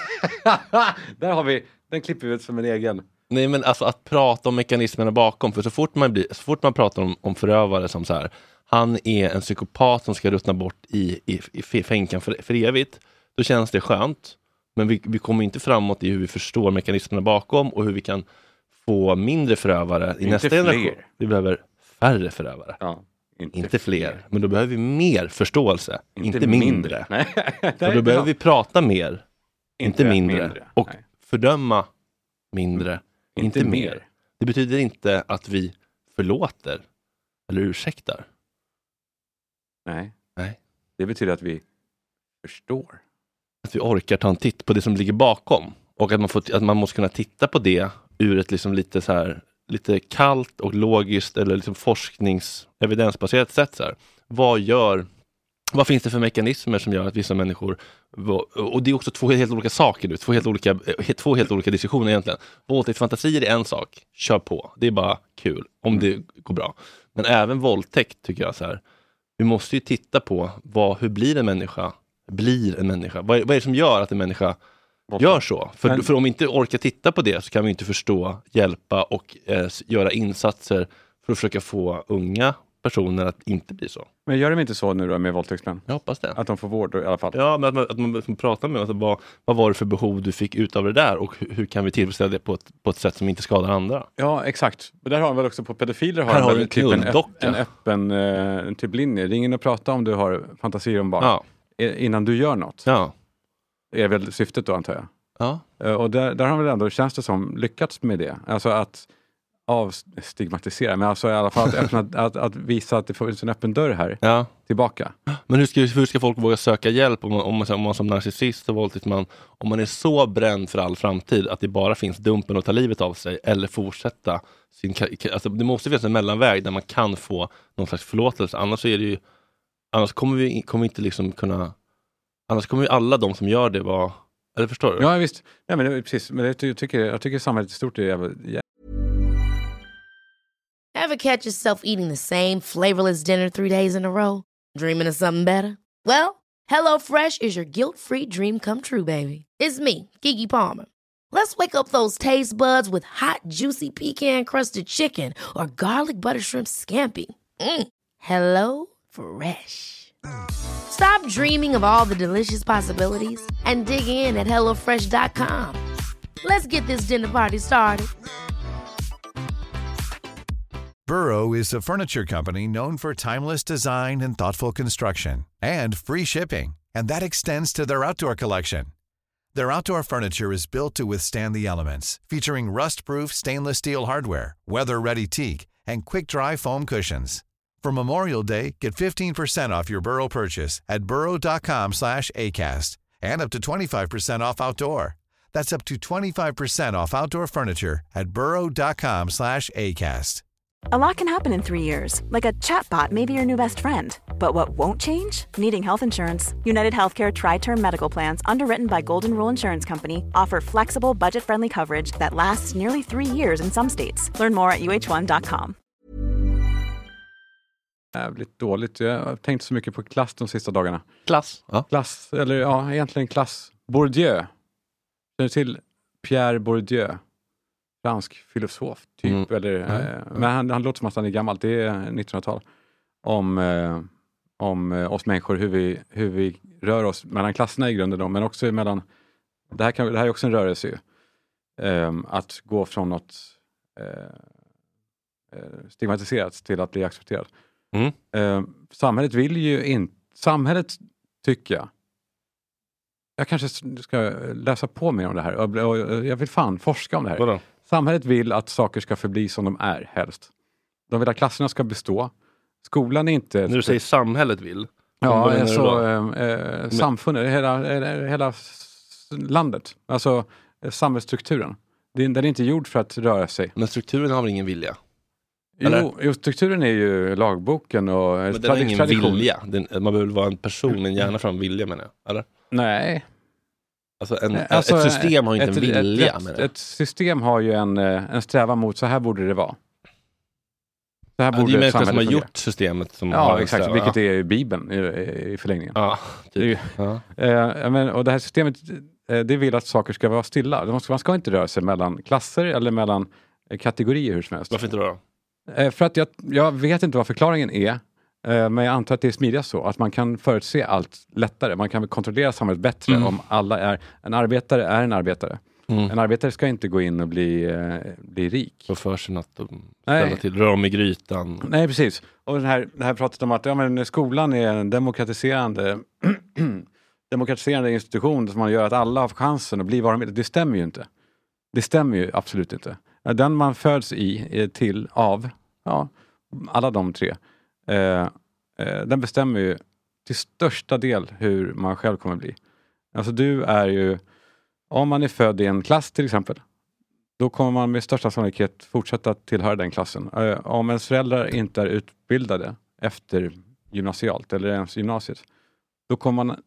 E: *laughs* Där har vi... Den klipper vi ut som en egen.
D: Nej men alltså att prata om mekanismerna bakom, för så fort man, blir, så fort man pratar om, om förövare som så här, han är en psykopat som ska ruttna bort i, i, i fe- fänkan för, för evigt, då känns det skönt. Men vi, vi kommer inte framåt i hur vi förstår mekanismerna bakom och hur vi kan få mindre förövare i
E: Inte
D: nästa
E: fler.
D: generation. Vi behöver färre förövare.
E: Ja, inte,
D: Inte fler, men då behöver vi mer förståelse, inte, mindre. *laughs*
E: Nej.
D: Och då behöver vi prata mer, inte, mindre. Och
E: Nej.
D: fördöma mindre, inte, mer. Det betyder inte att vi förlåter eller ursäktar.
E: Nej.
D: Nej.
E: Det betyder att vi förstår.
D: Att vi orkar ta en titt på det som ligger bakom. Och att man, får, att man måste kunna titta på det ur ett liksom lite, så här, lite kallt och logiskt eller liksom forsknings evidensbaserat sätt. Så här. Vad gör vad finns det för mekanismer som gör att vissa människor... Och det är också två helt olika saker nu, två helt olika, eh, två helt olika diskussioner egentligen. Våldtäktsfantasier är en sak, kör på, det är bara kul, om det går bra. Men även våldtäkt tycker jag så här, vi måste ju titta på vad, hur blir en människa, blir en människa? Vad är, vad är det som gör att en människa gör så? För,
E: Men-
D: för om vi inte orkar titta på det så kan vi inte förstå, hjälpa och eh, s- göra insatser för att försöka få unga personer att inte bli så.
E: Men gör de inte så nu då med våldtäktsmän?
D: Jag hoppas det.
E: Att de får vård då, i alla fall?
D: Ja, men att man, att man liksom pratar med alltså, vad, vad var det för behov du fick ut av det där och hur, hur kan vi tillfredsställa det på ett, på ett sätt som inte skadar andra?
E: Ja, exakt. Och där har de väl också på pedofiler har
D: Här
E: de
D: har
E: väl typ
D: du en
E: en, öpp,
D: knulldocka.
E: en öppen eh, typ linje. Ring in och prata om du har fantasier om barn
D: Ja,
E: eh, innan du gör något.
D: ja,
E: är väl syftet då antar jag.
D: ja.
E: Eh, Och där, där har väl ändå, känns det som, lyckats med det. Alltså att avstigmatisera, men alltså i alla fall att, öppna, att, att visa att det finns en öppen dörr här,
D: ja.
E: tillbaka.
D: Men hur ska, hur ska folk våga söka hjälp om man, om man, om man som narcissist och våldtäktsman, om man är så bränd för all framtid att det bara finns dumpen att ta livet av sig eller fortsätta sin ka- ka- alltså, Det måste finnas en mellanväg där man kan få någon slags förlåtelse, annars så är det ju Annars kommer vi kommer vi inte liksom kunna Annars kommer ju alla de som gör det vara Eller förstår du?
E: Ja, visst. Ja, men det, är precis. Men det, jag, tycker, jag tycker samhället i stort är jävla,
H: Ever catch yourself eating the same flavorless dinner three days in a row? Dreaming of something better? Well, HelloFresh is your guilt free dream come true, baby. It's me, Gigi Palmer. Let's wake up those taste buds with hot, juicy pecan crusted chicken or garlic butter shrimp scampi. Mm. Hello Fresh. Stop dreaming of all the delicious possibilities and dig in at HelloFresh.com. Let's get this dinner party started.
A: Burrow is a furniture company known for timeless design and thoughtful construction and free shipping, and that extends to their outdoor collection. Their outdoor furniture is built to withstand the elements, featuring rust-proof stainless steel hardware, weather-ready teak, and quick-dry foam cushions. For Memorial Day, get 15% off your Burrow purchase at burrow.com/acast and up to 25% off outdoor. That's up to 25% off outdoor furniture at burrow.com/acast.
I: A lot can happen in three years, like a chatbot may be your new best friend. But what won't change? Needing health insurance. United Healthcare Tri Term Medical Plans, underwritten by Golden Rule Insurance Company, offer flexible, budget friendly coverage that lasts nearly three years in some states. Learn more at uh1.com.
E: jävligt dåligt. Jag har tänkt så mycket på klass de sista dagarna.
D: Klass. Ja.
E: Klass, eller ja, egentligen klass. Bourdieu. Känner du till Pierre Bourdieu? Fransk filosof, typ.
D: Mm.
E: Eller, eh, men han, han låter som att han är gammal. Det är 1900-tal. Om, eh, om eh, oss människor, hur vi, hur vi rör oss mellan klasserna i grunden, då, men också mellan... Det här, kan, det här är också en rörelse ju. Ehm, att gå från något eh, eh, stigmatiserat till att bli accepterad.
D: Mm.
E: Ehm, samhället vill ju inte... Samhället tycker jag. Jag kanske s- ska läsa på mer om det här. Jag bl- och Jag vill fan forska om det här.
D: Vadå?
E: Samhället vill att saker ska förbli som de är, helst. De vill att klasserna ska bestå. Skolan är inte...
D: När du säger samhället vill, vad
E: Ja,
D: menar du
E: alltså,
D: då?
E: eh, eh, samfundet, hela, eh, hela s- landet. Alltså eh, samhällsstrukturen. Den, den är inte gjord för att röra sig.
D: men strukturen har väl ingen vilja? Eller?
E: Jo, jo, strukturen är ju lagboken och eh,
D: Men den har
E: tradi-
D: ingen
E: tradition.
D: vilja. Den, man behöver väl vara en person, en hjärna för en vilja menar jag. Eller?
E: Nej,
D: Alltså en,
E: Alltså,
D: ett system har ju inte en vilja.
E: Ett,
D: menar
E: ett,
D: jag.
E: ett system har ju en, eh, en strävan mot så här borde det vara. Så här
D: ja, det är ju
E: borde
D: människor som har
E: samhället fungera.
D: gjort systemet som har
E: Ja,
D: en
E: exakt.
D: strävan.
E: Vilket är ju Bibeln i, i förlängningen.
D: Ja,
E: Det är
D: typ.
E: ju-
D: ja.
E: Eh, men, och det här systemet eh, det vill att saker ska vara stilla. De ska- Man ska inte röra sig mellan klasser eller mellan eh, kategorier hur som helst.
D: Varför inte då?
E: Eh, för att jag, jag vet inte vad förklaringen är, eh, men jag antar att det är smidigast så. Att man kan förutse allt lättare. Man kan kontrollera samhället bättre om alla är... En arbetare är en arbetare.
D: Mm.
E: En arbetare ska inte gå in och bli, eh, bli rik.
D: Få för sig något och ställa
E: Nej.
D: till, rör om i grytan.
E: Mm. Nej, precis. Och det här, det här pratet om att ja, men skolan är en demokratiserande, *clears throat* demokratiserande institution som man gör att alla har chansen att bli vad de vill. Det stämmer ju inte. Det stämmer ju absolut inte. Den man föds i, eh, till, av, ja, alla de tre, eh, eh, den bestämmer ju till största del hur man själv kommer bli. Alltså du är ju, om man är född i en klass till exempel, då kommer man med största sannolikhet fortsätta tillhöra den klassen. Eh, Om ens föräldrar inte är utbildade efter gymnasialt eller ens gymnasiet, då kommer man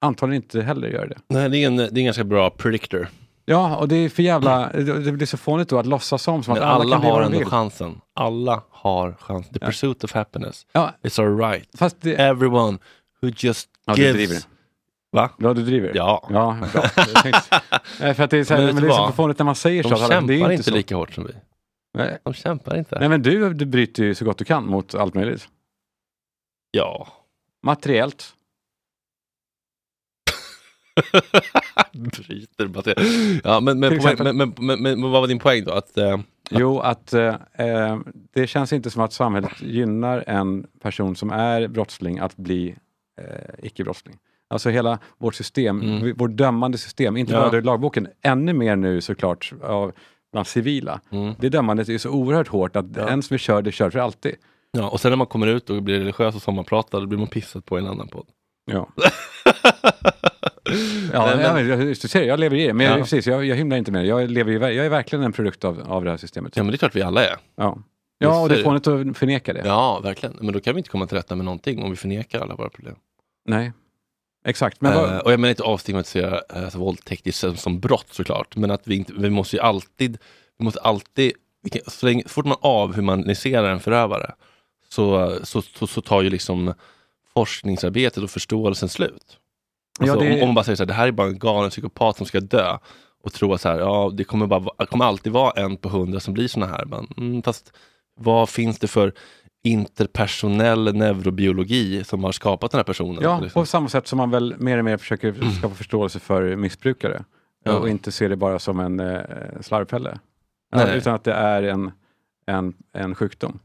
E: antagligen inte heller göra det.
D: Nej, det är, en, det är en ganska bra predictor.
E: Ja, och det är för jävla, det det blir så fånigt då att låtsas som, som
D: Men
E: att
D: alla,
E: alla, kan bli
D: har
E: vad de
D: ändå
E: vill.
D: chansen. Alla har chansen. The pursuit of happiness.
E: Ja.
D: It's alright.
E: Fast
D: Eh,
E: det,
D: Everyone who just
E: ja, du driver.
D: gives.
E: det.
D: Va?
E: Ja, du driver. det.
D: Ja.
E: *laughs* Ja, bra. Jag tänkte- Nej, för att det är så, här,
D: Men vet
E: men det
D: du
E: är så
D: vad?
E: fånigt när man säger
D: De
E: så. att alla-
D: kämpar
E: det är
D: inte,
E: ju så.
D: lika hårt som vi.
E: Nej.
D: De kämpar inte.
E: Nej, men du, du bryter ju så gott du kan mot allt möjligt.
D: Ja. *laughs*
E: Materiellt.
D: Bryter bara Ja, men, men,
E: Till
D: poäng,
E: exempel.
D: men, men, men, men vad var din poäng då? Att, eh,
E: Jo, att eh, eh, det känns inte som att samhället gynnar en person som är brottsling att bli eh, icke-brottsling. Alltså hela vårt system,
D: Mm.
E: v- vårt dömande system, inte
D: Ja.
E: bara det i lagboken, ännu mer nu såklart av bland civila.
D: mm.
E: Det dömandet är så oerhört hårt att
D: Ja.
E: en som är körd är körd för alltid.
D: ja, och sen när man kommer ut och blir religiös och sommarpratar, då blir man pissad på i en annan podd.
E: *laughs* Ja.
D: *laughs*
E: Ja,
D: Nej, men,
E: men, jag, du ser, jag lever i det. Men jag,
D: Ja.
E: precis, jag, jag hymlar inte med det. Jag, lever i, ver- jag är verkligen en produkt av, av det här systemet.
D: ja, men det är klart vi alla är.
E: Ja, ja och det är
D: Visst.
E: fånigt att förneka det.
D: Ja, verkligen. Men då kan vi inte komma till rätta med någonting om vi förnekar alla våra problem.
E: Nej, exakt. Men vad,
D: Eh, och jag menar inte avstigmatisera eh, alltså, våldtäkt i- som, som brott såklart, men att vi, inte, vi måste ju alltid, vi måste alltid, vi kan, så, länge, så fort man avhumaniserar en förövare så, så, så, så tar ju liksom forskningsarbetet och förståelsen slut. Alltså,
E: Ja, det-
D: om, om man bara säger så här, det här är bara en galen psykopat som ska dö och tro att så här, ja, det kommer, bara, va- det kommer alltid vara en på hundra som blir såna här. Men, mm, fast vad finns det för interpersonell neurobiologi som har skapat den här personen?
E: Ja,
D: Liksom.
E: på samma sätt som man väl mer och mer försöker skapa förståelse för missbrukare
D: Mm.
E: eh,
D: Ja.
E: och inte se det bara som en eh, slarvpelle.
D: Nej.
E: Ja, utan att det är en, en, en sjukdom.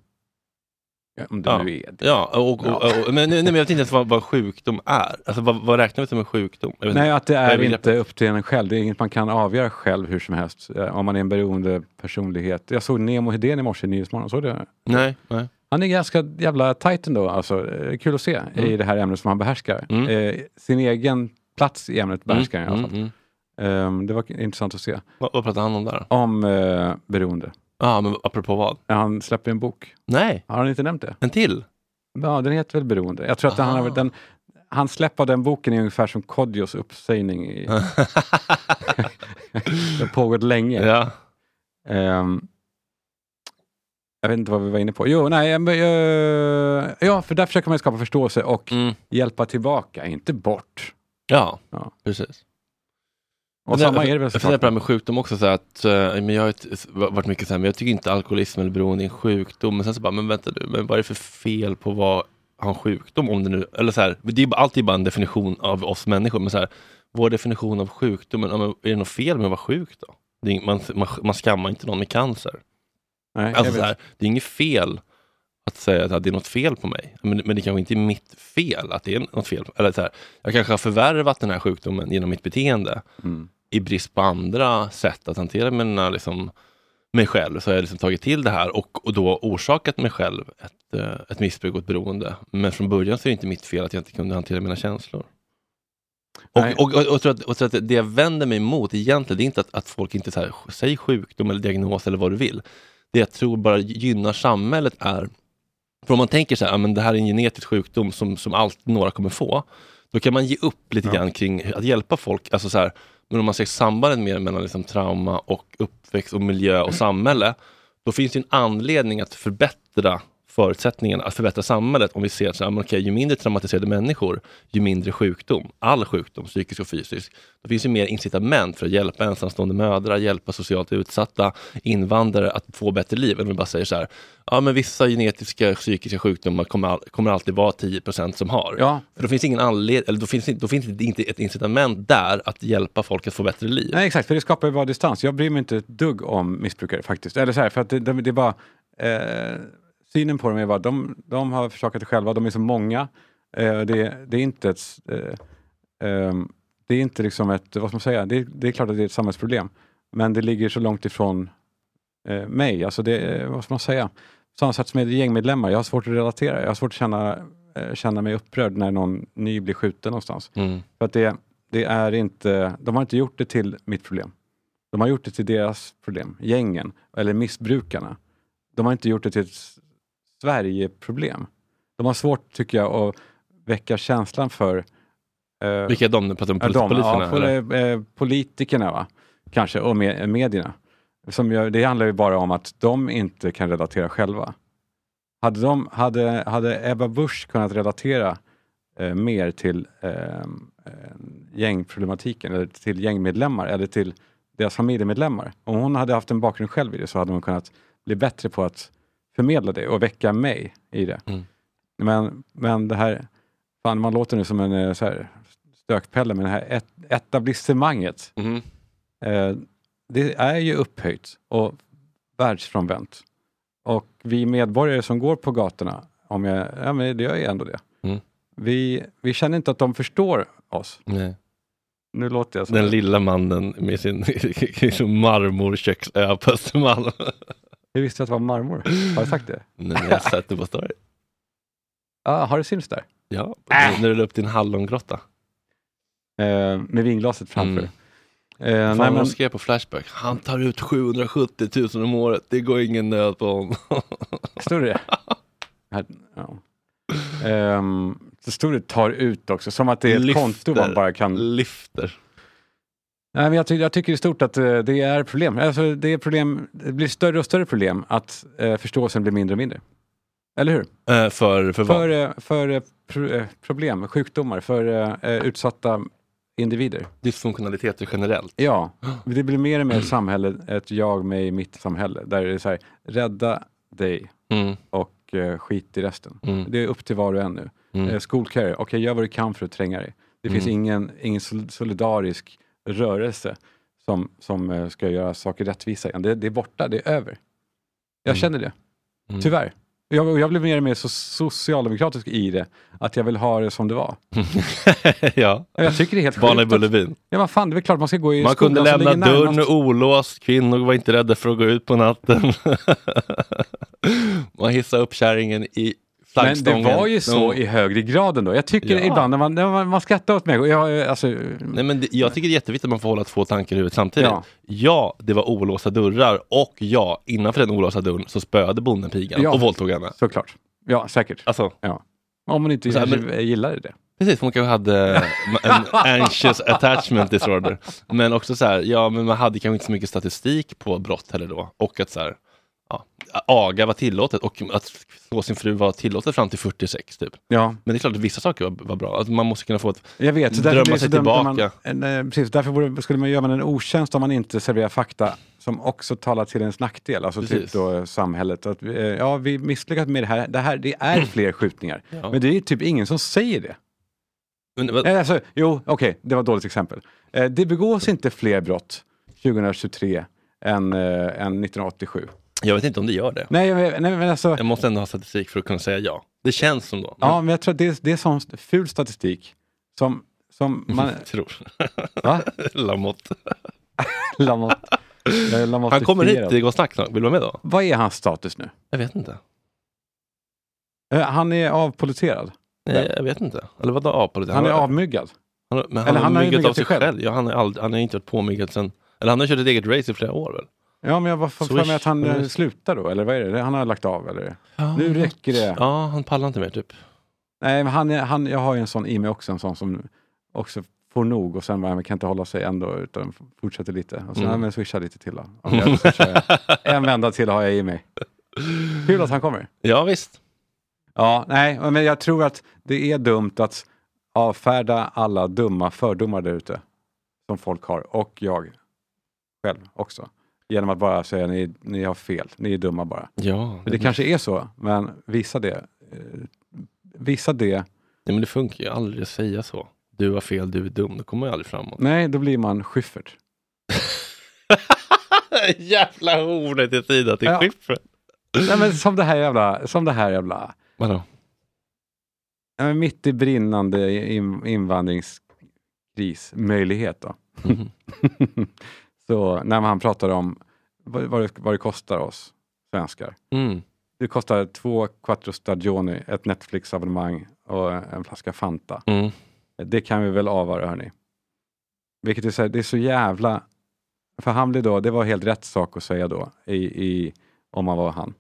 E: Ja, Om det
D: Ja.
E: nu är det.
D: Ja, och, och,
E: Ja.
D: Och, men, nej, men jag vet inte ens vad, vad sjukdom är. Alltså, vad, vad räknar vi som en sjukdom? Jag vet
E: Nej,
D: inte.
E: att det
D: Vad är
E: är
D: begreppet?
E: inte upp till en själv. Det är inget man kan avgöra själv hur som helst. eh, Om man är en beroende personlighet. Jag såg Nemo Hedén i morse i Nyhetsmorgon. Såg du det?
D: nej, nej.
E: Han är ganska jävla tight ändå. Alltså, eh, kul att se i det här ämnet som han behärskar.
D: Mm.
E: Eh, sin egen plats i ämnet behärskar han i alla fall.
D: Mm, mm.
E: Eh, det var intressant att se.
D: Vad, vad pratar han om där?
E: om eh, beroende.
D: Ja, ah, men apropå vad?
E: Han släpper en bok.
D: Nej,
E: Har han inte nämnt det?
D: en till?
E: Ja, den heter väl Beroende. Jag tror att han,
D: Aha.
E: har- den, han släpp av den boken är ungefär som Kodjos uppsägning.
D: *laughs*
E: I, det har pågått länge.
D: ja.
E: Ehm, jag vet inte vad vi var inne på. Jo, nej, men, eh, ja, för där försöker man ju skapa förståelse och
D: Mm.
E: hjälpa tillbaka, inte bort.
D: ja,
E: Ja.
D: precis.
E: Och
D: Men
E: samma
D: jag-
E: är det väl
D: Jag funderar på det här
E: såklart.
D: med sjukdom också, så här att, eh, men jag har ett- varit mycket så här, men jag tycker inte alkoholism eller beroende är en sjukdom, men sen så bara, men vänta nu, men vad är det för fel på vad ha en sjukdom om det nu, eller så här, det är ju bara- alltid bara en definition av oss människor, men så här, vår definition av sjukdomen, ja, men är det något fel med att vara sjuk då? Det är, ing- man, man, man skammar inte någon med cancer.
E: Nej, jag
D: Alltså
E: vet.
D: så här, det är inget fel att säga att det är något fel på mig, men, men det kanske inte är mitt fel att det är något fel. Eller så här, jag kanske har förvärvat den här sjukdomen genom mitt beteende,
E: Mm.
D: i brist på andra sätt att hantera mina, liksom, mig själv så har jag liksom tagit till det här och, och då orsakat mig själv ett, eh, ett missbruk och ett beroende. Men från början så är det inte mitt fel att jag inte kunde hantera mina känslor.
E: Nej.
D: Och, och, och, och, tror att, och tror att det jag vänder mig emot egentligen, det är inte att, att folk inte så här, säger sjukdom eller diagnos eller vad du vill. Det jag tror bara gynnar samhället är, för om man tänker så här, "Ah, men det här är en genetisk sjukdom som, som allt, några kommer få, då kan man ge upp lite grann kring att hjälpa folk. Alltså så här, men om man ser sambandet mer mellan liksom trauma och uppväxt och miljö och samhälle, då finns det ju en anledning att förbättra förutsättningarna att förbättra samhället om vi ser att så här, men okej, ju mindre traumatiserade människor, ju mindre sjukdom, all sjukdom, psykisk och fysisk. Då finns ju mer incitament för att hjälpa ensamstående mödrar, hjälpa socialt utsatta invandrare att få bättre liv. Än om vi bara säger så här, ja men vissa genetiska psykiska sjukdomar kommer, all, kommer alltid vara 10 som har.
E: Ja.
D: För då finns ingen anledning, eller då finns, inte- då finns det inte ett incitament där att hjälpa folk att få bättre liv.
E: Nej, exakt, för det skapar ju bara distans. Jag bryr mig inte ett dugg om missbrukare faktiskt. Eller så här, för att det, det, det är bara... Eh, synen på dem är bara, de, de har försakat det själva, de är så många. Eh, det, det är inte ett... s- Eh, ehm, det är inte liksom ett, vad ska man säga, det, det är klart att det är ett samhällsproblem. Men det ligger så långt ifrån eh, mig. Alltså det, eh, vad ska man säga? På samma sätt som med gängmedlemmar, jag har svårt att relatera. Jag har svårt att känna, eh, känna mig upprörd när någon ny blir skjuten någonstans.
D: Mm.
E: För att det, det är inte, de har inte gjort det till mitt problem. De har gjort det till deras problem, gängen eller missbrukarna. De har inte gjort det till ett S- Sverige-problem. De har svårt, tycker jag, att väcka känslan för... eh,
D: Vilka är de nu? Pratar om
E: Ja, de,
D: poliserna?
E: ja, pol-
D: eller?
E: eh, politikerna va? kanske, och med, medierna. Som gör, det handlar ju bara om att de inte kan relatera själva. Hade, de, hade, hade Ebba Busch kunnat relatera eh, mer till eh, eh, gängproblematiken, eller till gängmedlemmar, eller till deras familjemedlemmar. Om hon hade haft en bakgrund själv i det så hade hon kunnat bli bättre på att förmedla det och väcka mig i det.
D: Mm.
E: Men, men det här, fan man låter nu som en eh, så här, stökpelle, men det här et, etablissemanget,
D: Mhm.
E: eh, det är ju upphöjt och världsfrånvänt. Och vi medborgare som går på gatorna, om jag, ja, men det gör ju ändå det.
D: Mm.
E: Vi, vi känner inte att de förstår oss.
D: Nej.
E: Nu låter jag som
D: Den lilla mannen med sin *laughs* sin marmorköksö på Östermalm.
E: Jag visste att det var marmor. Har jag sagt det?
D: Nej, jag har sett det på story.
E: Ah, har det synts där?
D: Ja,
E: Äh.
D: när du la upp din hallongrotta.
E: Eh, med vinglaset framför.
D: Mm.
E: Eh,
D: Fan
E: nej,
D: vad
E: men,
D: de skrev på Flashback. Han tar ut 770 000 om året. Det går ingen nöd på honom. *laughs*
E: Står det? Här- ja. Ehm, så står det tar ut också, som att det är ett
D: Lyfter.
E: konto man bara kan...
D: Lyfter.
E: Nej, men jag, ty- jag tycker i stort att eh, det är problem. Alltså, det, är problem. Det blir större och större problem att eh, förståelsen blir mindre och mindre. Eller hur?
D: Eh, för, för vad?
E: För, eh, för eh, pro, eh, problem, sjukdomar, för eh, eh, utsatta individer.
D: Dysfunktionaliteter generellt.
E: Ja, det blir mer och mer ett samhälle, ett jag, mig, mitt samhälle. Där det är så här, rädda dig
D: Mm,
E: och eh, skit i resten.
D: mm,
E: Det är upp till var och en nu. Eh,
D: mm.
E: school care, okej gör vad du kan för att tränga dig. Det finns
D: Mm.
E: ingen, ingen sol- solidarisk rörelse som, som eh, ska göra saker rättvisa igen. Det, det är borta, det är över. Jag
D: Mm.
E: känner det,
D: Mm.
E: tyvärr. Jag, och jag blir mer och mer så socialdemokratisk i det, att jag vill ha det som det var.
D: *laughs* ja,
E: Jag tycker det är helt
D: barn i
E: sjukt att-
D: Bullerbyn.
E: Ja, vad fan, det är väl klart man ska gå i
D: Man kunde
E: skolan som
D: lämna
E: ligger närmast.
D: dörren olåst. Kvinnor var inte rädda för att gå ut på natten. *laughs* Man hissade upp kärringen i
E: Men det
D: flaggstången.
E: var ju så
D: Mm.
E: i högre grad ändå. Jag tycker
D: Ja.
E: ibland när man, när man, man skrattar åt mig, och jag, eh, alltså,
D: Nej, men det, jag tycker det är jätteviktigt att man får hålla två tankar i huvudet samtidigt.
E: Ja.
D: Ja, det var olåsta dörrar och ja, innanför den olåsta dörren så spöade bonden pigan
E: Ja.
D: och våldtog henne.
E: såklart. Ja, säkert.
D: Alltså,
E: Om man inte
D: Så här,
E: gillar- gillar det.
D: precis, hon kanske hade en anxious attachment disorder. Men också så här, ja, men man hade kanske inte så mycket statistik på brott heller då. Och att så här, ja, aga var tillåtet och att slå sin fru var tillåtet fram till 46 typ.
E: Ja,
D: Men det är klart att vissa saker var, var bra. Att man måste kunna få ett...
E: jag vet. Så
D: Drömma
E: därför blir det så
D: sig
E: dumt om
D: tillbaka.
E: Man, eh, nej, precis, därför borde, skulle man göra man en otjänst om man inte serverar fakta som också talar till ens nackdel, alltså typ
D: Precis.
E: då eh, samhället. Att, eh, ja, vi misslyckats med det här. Det, här, det
D: Mm.
E: är fler skjutningar.
D: Ja.
E: Men det är typ ingen som säger det.
D: Men, vad-
E: Nej, Alltså, jo, okej, det var ett dåligt exempel. Eh, det begås inte fler brott 2023 än, eh, än 1987.
D: jag vet inte om det gör det.
E: Nej, men- nej men alltså,
D: Jag måste ändå ha statistik för att kunna säga ja. Det känns som då.
E: ja, men jag tror att det, är- det är sån ful statistik som,
D: *laughs*
E: som man...
D: Jag Mm, tror.
E: Va?
D: *laughs* Lamotte.
E: Lamott. Jag är
D: Han kommer hit,
E: lamottifierad.
D: det går snack snart. Vill du vara med då?
E: Vad är hans status nu?
D: Jag vet inte.
E: Eh, Han är avpoliterad.
D: Nej, jag vet inte. Eller vadå avpolitik?
E: Han är avmyggad.
D: han, har- men han,
E: eller han
D: har
E: har ju
D: myggat av
E: myggat sig
D: sig
E: själv.
D: själv. Ja, han, är ald- han har inte varit påmyggad sen... Eller han har kört ett eget race i flera år väl?
E: Ja, men jag var för för mig
D: Swish.
E: att han eh,
D: Eller-
E: slutar då, eller vad är det? Han har lagt av, eller? Nu räcker det.
D: Ja, han pallar inte mer typ.
E: Nej, men han, är- han, jag har ju en sån i mig också, en sån som också får nog och sen bara, men kan inte hålla sig ändå, utan fortsätter lite. Och sen,
D: Mm.
E: ja, men swisha lite
D: *laughs*
E: till *laughs* då. Ja, men jag swishar. en vända till har jag i mig. Kul att han kommer.
D: Ja, visst.
E: Ja, nej, men jag tror att det är dumt att avfärda alla dumma fördomar där ute som folk har och jag själv också. Genom att bara säga ni, ni har fel, ni är dumma bara.
D: Ja,
E: det, det kanske är så, men visa det. eh, Visa det.
D: Nej, men det funkar ju aldrig att säga så. Du har fel, du är dum. Då kommer jag aldrig
E: *laughs*
D: framåt.
E: Nej, då blir man Schyffert.
D: Jävla hornet i tiden till
E: Ja.
D: Schyffert.
E: Nej, men som det här jävla... Som det här jävla
D: Vadå?
E: Ja, men mitt i brinnande in, invandringskrismöjlighet. Då.
D: Mhm.
E: *laughs* så när han pratade om vad, vad, det, vad det kostar oss svenskar.
D: Mm.
E: Det kostar två quattro stagioni, ett Netflix-abonnemang och en flaska Fanta.
D: Mm.
E: Det kan vi väl avvara hörni. Vilket är så, här, det är så jävla... För han blev då, det var helt rätt sak att säga då, i, i, om man var han.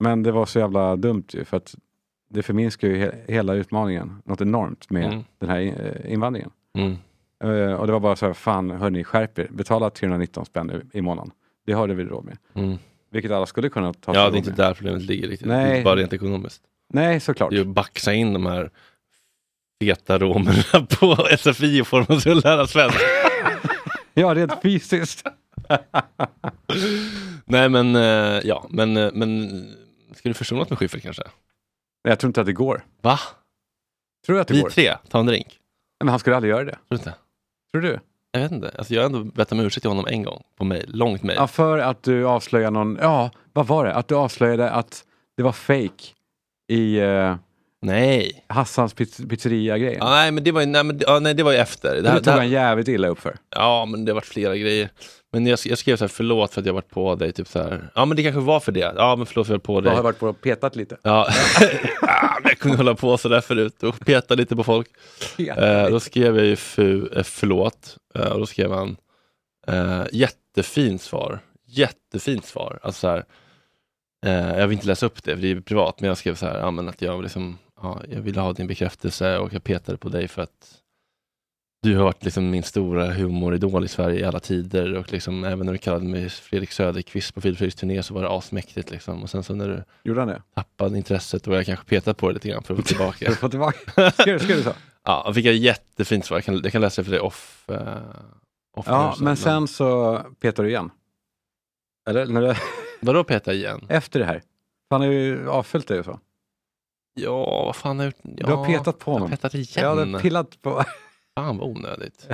E: Men det var så jävla dumt ju, för att det förminskar ju he, hela utmaningen något enormt med
D: Mm.
E: den här eh, invandringen.
D: Mm.
E: Eh, och det var bara så här, fan hörni, skärp er, betala 319 spänn i, i månaden. Det hade vi råd med.
D: Mm.
E: Vilket alla skulle kunna ta sig
D: Ja,
E: råd
D: det är inte
E: med.
D: där problemet ligger riktigt. Det är
E: Nej.
D: inte bara rent ekonomiskt.
E: Nej, såklart.
D: Det är ju att baxa in de här feta romerna *laughs* på SFI och få dem att lära svenska.
E: *laughs* Ja, rent fysiskt.
D: Nej, men eh, ja, men, eh, men ska du försonas med Schyffert kanske?
E: Jag tror inte att det går.
D: Va?
E: Tror du att det
D: Vi
E: går?
D: tre, ta en drink.
E: Men han skulle aldrig göra det.
D: Tror du inte?
E: Tror du?
D: Jag vet inte. Alltså, jag har ändå bett om ursäkt till honom en gång på mejl, långt mejl.
E: Ja, för att du avslöjade någon, ja, vad var det? Att du avslöjade att det var fake i eh,
D: Nej.
E: Hassans pizz- pizzeria-grejen.
D: Ja, nej, men det var ju, nej, men, det- ja, nej, det var ju efter.
E: det,
D: här-
E: tog
D: här-
E: han jävligt illa upp för.
D: Ja, men det har varit flera grejer. Men jag, jag skrev så här, förlåt för att jag varit på dig, typ så här. Ja, men det kanske var för det. Eh, Ja, men förlåt för att jag var på
E: Jag har
D: dig.
E: varit på och petat lite.
D: Ja, *laughs* Ah, men jag kunde hålla på så där förut och peta lite på folk. Eh, då skrev jag ju fu, eh, förlåt eh, och då skrev han eh, jättefint svar. Jättefint svar. Alltså så här, eh, jag vill inte läsa upp det för det är privat, men jag skrev så här, ja, men att jag, liksom, ja, jag ville ha din bekräftelse och jag petade på dig för att du har varit liksom min stora humoridol i Sverige i alla tider och liksom, även när du kallade mig Fredrik Söderqvist på Filip Fredriks turné så var det asmäktigt. Liksom. Och sen så när du
E: Gjorde han det?
D: tappade intresset och jag kanske petade på det lite grann för att få
E: Ska
D: tillbaka.
E: du få tillbaka? Ska du, ska du så?
D: ja, och fick jag jättefint svar. Jag kan, jag kan läsa det för dig off. eh, off
E: Ja,
D: nu
E: men sen så petar du igen. Eller? När du, *laughs*
D: Vadå peta igen?
E: efter det här. Han har ju avföljt dig och så.
D: Ja, vad fan har jag gjort? Ja,
E: Du har petat på
D: Jag
E: honom.
D: petade igen.
E: Jag hade pillat på... *laughs*
D: Fan vad onödigt.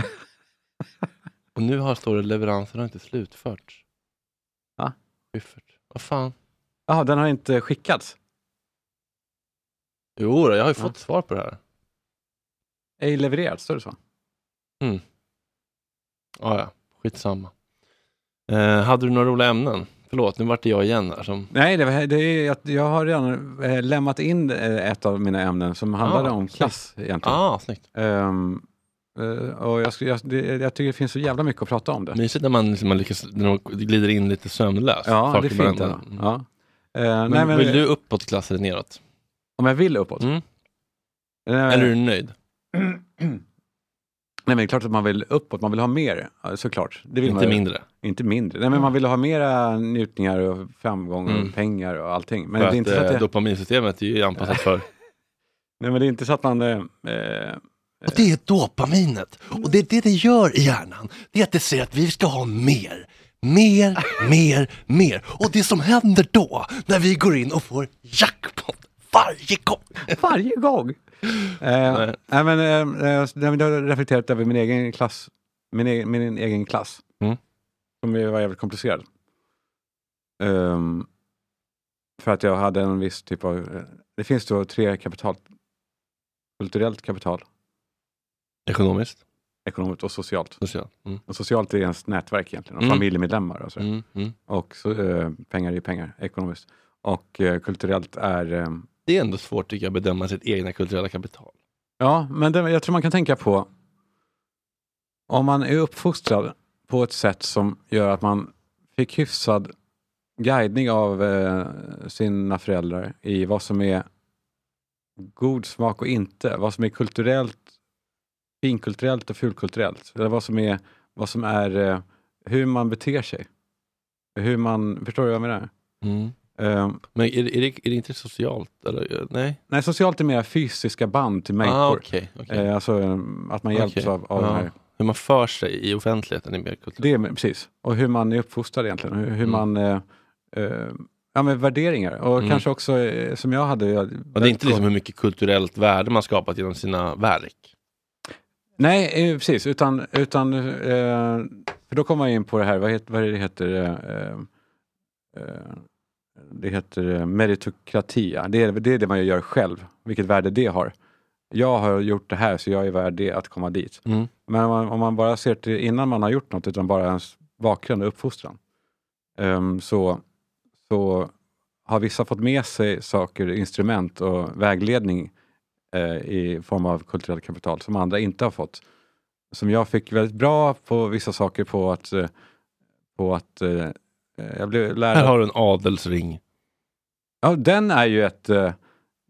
D: *laughs* och nu har står det leveransen har inte slutförts.
E: Va?
D: Buffert. Vad fan?
E: Jaha, den har inte skickats.
D: Jo, då, jag har ju
E: Ja.
D: fått svar på det här.
E: Ej levererats, står det så?
D: Ah, ja, skitsamma. Eh, hade du några roliga ämnen? Förlåt, nu vart det jag igen här som...
E: Nej, det, var- det är, jag, jag har redan eh, lämnat in eh, ett av mina ämnen som handlade
D: Ah,
E: om
D: snyggt.
E: klass egentligen.
D: Ah, snyggt.
E: Ehm, eh, och jag, skulle- jag, det, jag tycker det finns så jävla mycket att prata om det.
D: Mysigt när man, liksom, man lyckas, när man glider in lite sömnlös.
E: Ja,
D: Saker
E: det är fint.
D: varandra.
E: ändå.
D: Mm.
E: Ja. Eh,
D: Men,
E: nej, men,
D: vill du uppåt klass eller neråt?
E: Om jag vill uppåt?
D: Mm.
E: Eh,
D: Eller är du nöjd?
E: Nej, men det är klart att man vill uppåt. Man vill ha mer, eh, såklart. Det vill
D: Inte
E: man, ju.
D: mindre.
E: Inte mindre. Nej, men man vill ha mera njutningar och framgång och
D: Mm.
E: pengar och allting. Men
D: Men
E: det
D: för
E: är
D: att,
E: inte så att
D: eh,
E: jag,
D: dopaminsystemet är ju anpassat för...
E: nej, men det är inte så att man... eh, eh,
D: Och *laughs* det är dopaminet. Och det är det det gör i hjärnan. Det är att det säger att vi ska ha mer. Mer, mer, mer. Och det som händer då, när vi går in och får jackpot varje gång.
E: Varje gång! Eh,
D: Nej.
E: nej. men, eh, eh, nej, men jag har reflekterat över min egen klass. Min egen, min egen klass.
D: Mm.
E: Som ju var jävligt komplicerad. Ehm, för att jag hade en viss typ av... eh, Det finns då tre kapital. Kulturellt kapital,
D: Ekonomiskt.
E: ekonomiskt och socialt.
D: Socialt. Mm.
E: Och socialt är ens nätverk egentligen, och
D: Mm.
E: familjemedlemmar och så.
D: Mm. Mm.
E: Och så, eh, pengar är ju pengar, ekonomiskt. Och eh, kulturellt är... ehm,
D: Det är ändå svårt tycker jag att bedöma sitt egna kulturella kapital.
E: Ja, men det, jag tror man kan tänka på om man är uppfostrad på ett sätt som gör att man fick hyfsad guidning av eh, sina föräldrar i vad som är god smak och inte, vad som är kulturellt, finkulturellt och fulkulturellt, eller vad som är, vad som är eh, hur man beter sig. Hur man, förstår du vad jag menar?
D: Mm. Men är, det- är, det, är det inte socialt? Eller? eh, Nej?
E: Nej, socialt är mer fysiska band till människor.
D: Ah, okej, okej.
E: Eh, alltså eh, att man hjälps
D: Okej. Ah.
E: av, av
D: Ja.
E: det här.
D: Hur man för sig i offentligheten är mer kulturellt.
E: Det är, precis. Och hur man är uppfostrad egentligen. Hur, hur
D: Mm.
E: man... Eh, eh, ja, men värderingar. Och
D: Mm.
E: kanske också eh, som jag hade. Jag,
D: Och det är inte liksom hur mycket kulturellt värde man skapat genom sina verk.
E: Nej, eh, precis. Utan... utan eh, för då kommer jag in på det här, vad, het, vad är det heter? Eh, eh, det heter eh, meritokratia. Det är, det är det man gör själv, vilket värde det har. Jag har gjort det här så jag är värd det att komma dit.
D: Mm.
E: Men om man, om man bara ser till innan man har gjort något, utan bara ens bakgrund och uppfostran, ehm, så, så har vissa fått med sig saker, instrument och vägledning eh, i form av kulturellt kapital som andra inte har fått. Som jag fick väldigt bra på vissa saker på att, eh, på att eh, jag blev lärare.
D: Här har du en adelsring.
E: Ja, den är ju ett eh,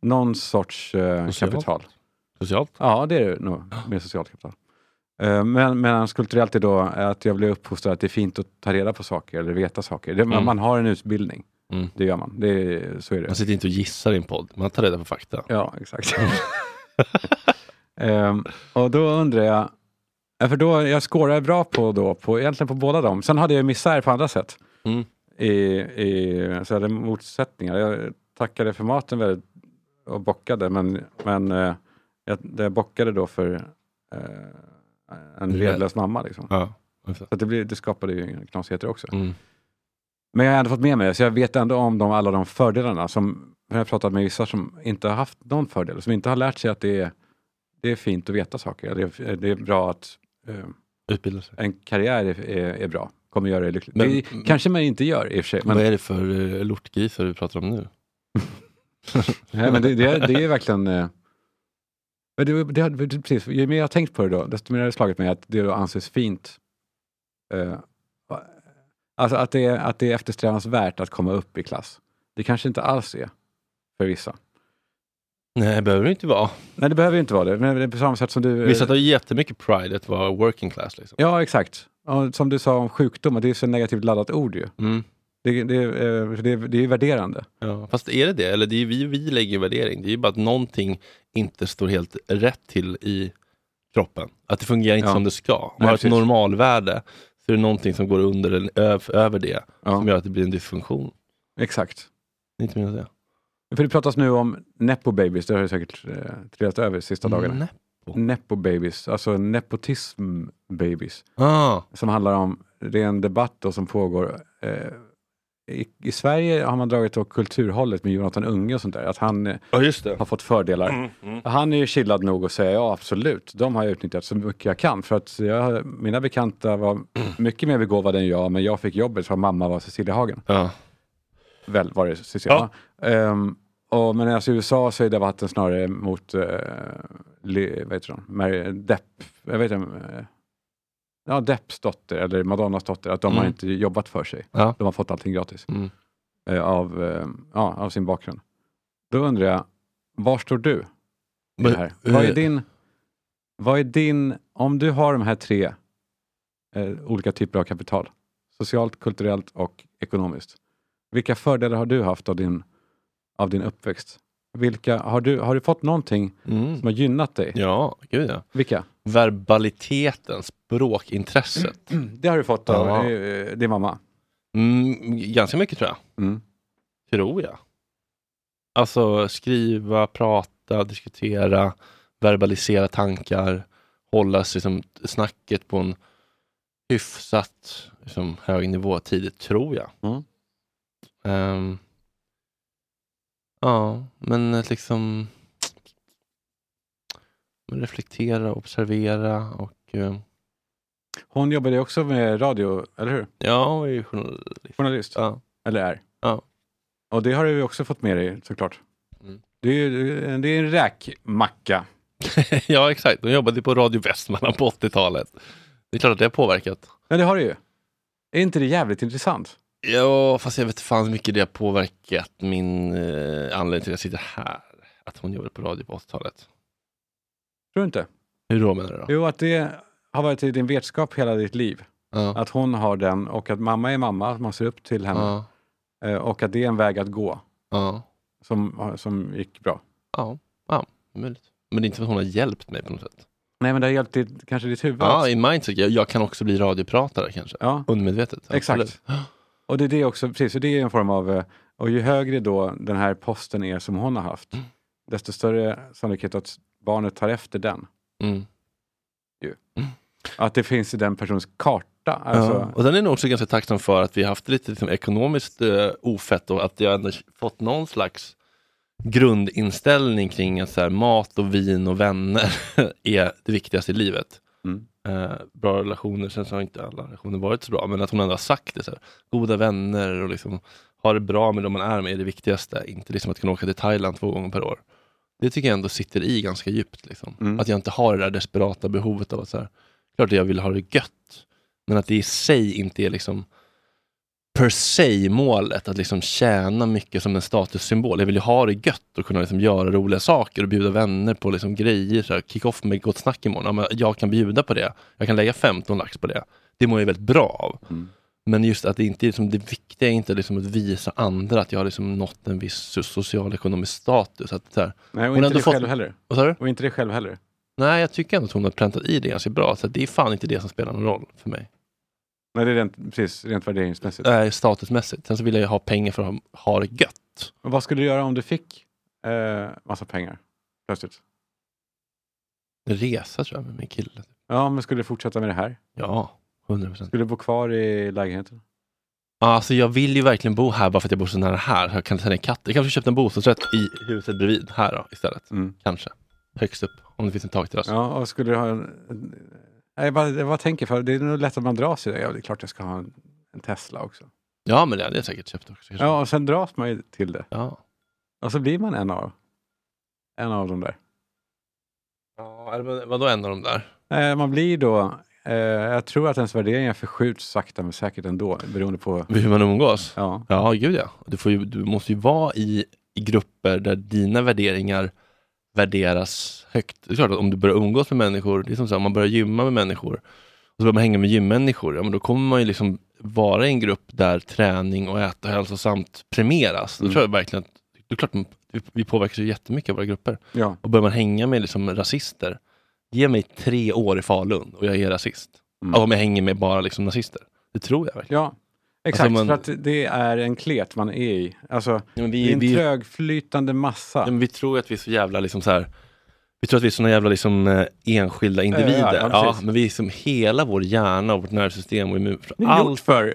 E: någon sorts eh,
D: Socialt.
E: kapital.
D: Socialt?
E: Ja, det är det nog. Mer socialt kapital. Eh, men medan kulturellt är då att jag blev uppfostrad att det är fint att ta reda på saker eller veta saker. Det,
D: Mm.
E: Man har en utbildning.
D: Mm.
E: Det gör man. Det, är- så är
D: Man
E: det.
D: sitter inte och gissar i en podd, man tar reda på fakta.
E: Ja, exakt. Ehm, och då undrar jag, ja, för då jag scorar bra på, då, på, egentligen på båda dem. Sen hade jag misär på andra sätt.
D: Mm.
E: I, i, så jag hade motsättningar. Jag tackade för maten väldigt och bockade, men, men eh, jag, jag bockade då för eh, en redlös mamma. Liksom.
D: Ja.
E: Så att det, blir, det skapade ju knasigheter också.
D: Mm.
E: Men jag har ändå fått med mig det, så jag vet ändå om de, alla de fördelarna. Som, för jag har pratat med vissa som inte har haft någon fördel, som inte har lärt sig att det är, det är fint att veta saker. Det är, det är bra att eh,
D: Utbildar sig.
E: en karriär är, är, är bra, kommer göra dig lycklig.
D: Men-
E: det, kanske man inte gör i och för sig, Eh, men,
D: Vad är det för uh, lortgrisar du pratar om nu?
E: *laughs* nej, men det, det, är- det är verkligen... eh, men det, det, det, precis, ju mer jag har tänkt på det då, desto mer har det slagit mig att det då anses fint. Eh, alltså att det, är- att det är eftersträvansvärt att komma upp i klass. Det kanske inte alls är för vissa.
D: Nej, det behöver det inte vara.
E: Nej, det behöver ju inte vara det. Men det är på samma sätt som du... eh,
D: Vissa tar ju jättemycket pride att vara working class. Liksom.
E: Ja, exakt. Och som du sa om sjukdom, och det är ju så negativt laddat ord ju.
D: Mm.
E: Det, det, eh, för det, det är ju värderande.
D: Ja. Fast är det det? Eller det är ju vi, vi lägger värdering. Det är ju bara att någonting inte står helt rätt till i kroppen. Att det fungerar inte
E: Ja.
D: som det ska. Om man
E: Nej,
D: har ett
E: precis.
D: normalvärde så är det någonting som går under eller öv, över det
E: Ja.
D: som gör att det blir en dysfunktion.
E: Exakt.
D: Det är inte mer att säga.
E: För det pratas nu om nepo babies, det har ju säkert eh, trillat över sista dagarna.
D: Nej.
E: Nepo babies, alltså nepotism babies,
D: Ah.
E: som handlar om, det är en debatt då som pågår. Eh, i, I Sverige har man dragit åt kulturhållet med Jonathan Unge och sånt där, att han eh,
D: Ja, just det.
E: har fått fördelar. Han är ju chillad nog att säga ja, absolut, de har jag utnyttjat så mycket jag kan. För att jag, mina bekanta var *clears throat* mycket mer begåvade än jag, men jag fick jobbet för att mamma var Cecilia Hagen.
D: Ja.
E: Väl var det Cecilia? Ja. Ehm, och, men alltså, i USA så är debatten snarare mot, uh, li, vad heter hon, Mary, Depp, jag vet inte, eh, ja, Depps dotter eller Madonnas dotter, att de har
D: Mm.
E: inte jobbat för sig.
D: Ja.
E: De har fått allting gratis
D: Mm.
E: eh, av, eh, ja, av sin bakgrund. Då undrar jag, var står du? i det här.
D: Men,
E: Vad
D: eh,
E: är din, vad är din, om du har de här tre eh, olika typer av kapital, socialt, kulturellt och ekonomiskt, vilka fördelar har du haft av din, av din uppväxt? Vilka, har, du, har du fått någonting
D: Mm.
E: som har gynnat dig?
D: Ja, gud ja.
E: Vilka?
D: Verbaliteten, språkintresset.
E: *clears throat* Det har du fått av
D: Ja.
E: eh, din mamma.
D: Mm, ganska mycket tror jag.
E: Mm.
D: Tror jag. Alltså skriva, prata, diskutera, verbalisera tankar, hålla sig, liksom, snacket på en hyfsat liksom, hög nivå tidigt, tror jag.
E: Mm.
D: Ehm, ja, men att liksom men reflektera, observera och eh,
E: Hon jobbade ju också med radio, eller hur?
D: ja, hon är ju journalist.
E: Journalist,
D: Ja.
E: eller är.
D: Ja.
E: Och det har du ju också fått med dig såklart.
D: Mm.
E: Det är, ju- det är en räkmacka.
D: ja, exakt. De jobbade ju på Radio Västmanland på 80-talet. Det är klart att det har påverkat.
E: Ja, det har du ju. Är inte det jävligt intressant?
D: Ja, fast jag vet fan hur mycket det har påverkat min eh, anledning till att jag sitter här. Att hon jobbade på radio på 80-talet.
E: Tror du inte?
D: Hur då menar du? Då?
E: Jo, att det har varit i din vetskap hela ditt liv.
D: Ja.
E: Att hon har den och att mamma är mamma, man ser upp till henne.
D: Ja.
E: Eh, Och att det är en väg att gå
D: Ja.
E: som, som gick bra.
D: Ja, ja möjligt. Men det är inte för att hon har hjälpt mig på något sätt.
E: Nej, men det har hjälpt ditt, kanske ditt huvud.
D: Ja,
E: också.
D: i mindset. Jag, jag kan också bli radiopratare kanske.
E: ja.
D: Undermedvetet.
E: Exakt. Och det är det också, precis, och det är en form av, eh, och ju högre då den här posten är som hon har haft,
D: Mm.
E: desto större sannolikhet att barnet tar efter den.
D: *gasps* Mm.
E: Att det finns i den persons karta.
D: Ja.
E: Alltså,
D: Och sen är nog också ganska tacksam för att vi har haft lite liksom, ekonomiskt eh, ofett och att jag ändå fått någon slags grundinställning kring att så här, mat och vin och vänner *laughs* är det viktigaste i livet.
E: Mm.
D: Eh, bra relationer, sen så har inte alla relationer varit så bra, men att hon ändå har sagt det. Så här, goda vänner och liksom, ha det bra med dem man är med är det viktigaste, inte liksom att kunna åka till Thailand två gånger per år. Det tycker jag ändå sitter i ganska djupt. Liksom.
E: Mm.
D: Att jag inte har det där desperata behovet av att så här, klart att jag vill ha det gött, men att det i sig inte är liksom per se målet att liksom tjäna mycket som en statussymbol. Jag vill ju ha det gött och kunna liksom göra roliga saker och bjuda vänner på liksom grejer. Så här, kick-off med Gott Snack imorgon. Ja, men jag kan bjuda på det. Jag kan lägga 15 lax på det. Det mår jag väldigt bra av.
E: Mm.
D: Men just att det inte är liksom, det viktiga är inte liksom att visa andra att jag har liksom nått en viss socialekonomisk status. Att, så här,
E: nej, och
D: hon har
E: inte
D: ändå
E: det
D: fått-
E: själv heller.
D: vad sa du?
E: Och inte det själv heller.
D: Nej, jag tycker ändå att hon har präntat i det ganska bra. Så att det är fan inte det som spelar någon roll för mig.
E: Nej, det är rent, precis, rent värderingsmässigt.
D: Äh, statusmässigt. Sen så vill jag ju ha pengar för att ha- ha det gött.
E: Men vad skulle du göra om du fick eh, massa pengar plötsligt?
D: Resa tror jag med min kille.
E: Ja, men skulle du fortsätta med det här?
D: Ja, 100 procent.
E: Skulle du bo kvar i lägenheten?
D: Alltså jag vill ju verkligen bo här bara för att jag bor så nära här. Så jag kan sälja en katt. Jag kanske köpte en bostadsrätt i huset bredvid här då istället.
E: Mm.
D: Kanske. Högst upp. Om det finns en takterrass.
E: Ja, och skulle du ha en... Nej, jag bara, jag bara tänker för det är nog lätt att man dras i det. Ja, det är klart jag ska ha en, en Tesla också.
D: Ja, men det hade jag säkert köpt också. Kanske.
E: Ja, och sen dras man ju till det.
D: Ja.
E: Och så blir man en av, en av dem där.
D: ja eller vad- vadå en av de där?
E: Eh, man blir då... Eh, jag tror att ens värderingar förskjuts sakta men säkert ändå, beroende på...
D: Hur man umgås?
E: Ja,
D: Ja, gud ja. Du, får ju, du måste ju vara i, i grupper där dina värderingar värderas högt. Det är klart att om du börjar umgås med människor, det är som så här, om man börjar gymma med människor och så börjar man hänga med gymmänniskor, ja, men då kommer man ju liksom vara i en grupp där träning och äta hälsosamt premieras. Då
E: Mm.
D: tror jag verkligen att, det är klart, man- vi- vi påverkas ju jättemycket av våra grupper.
E: ja.
D: Och börjar man hänga med liksom rasister, ge mig tre år i Falun och jag är rasist.
E: Mm.
D: Om jag hänger med bara liksom nazister. Det tror jag verkligen.
E: ja. Exakt,
D: Alltså, man-
E: för att det är en klet man är i. Alltså,
D: Ja, men
E: det är en
D: vi-
E: trögflytande massa.
D: Ja, men vi tror att vi är så jävla liksom så här, vi tror att vi är såna jävla liksom, eh, enskilda individer.
E: ja,
D: Ja,
E: ja, precis.
D: men vi är som hela vår hjärna och vårt nervsystem och immun...
E: Det är gjort
D: Allt,
E: för...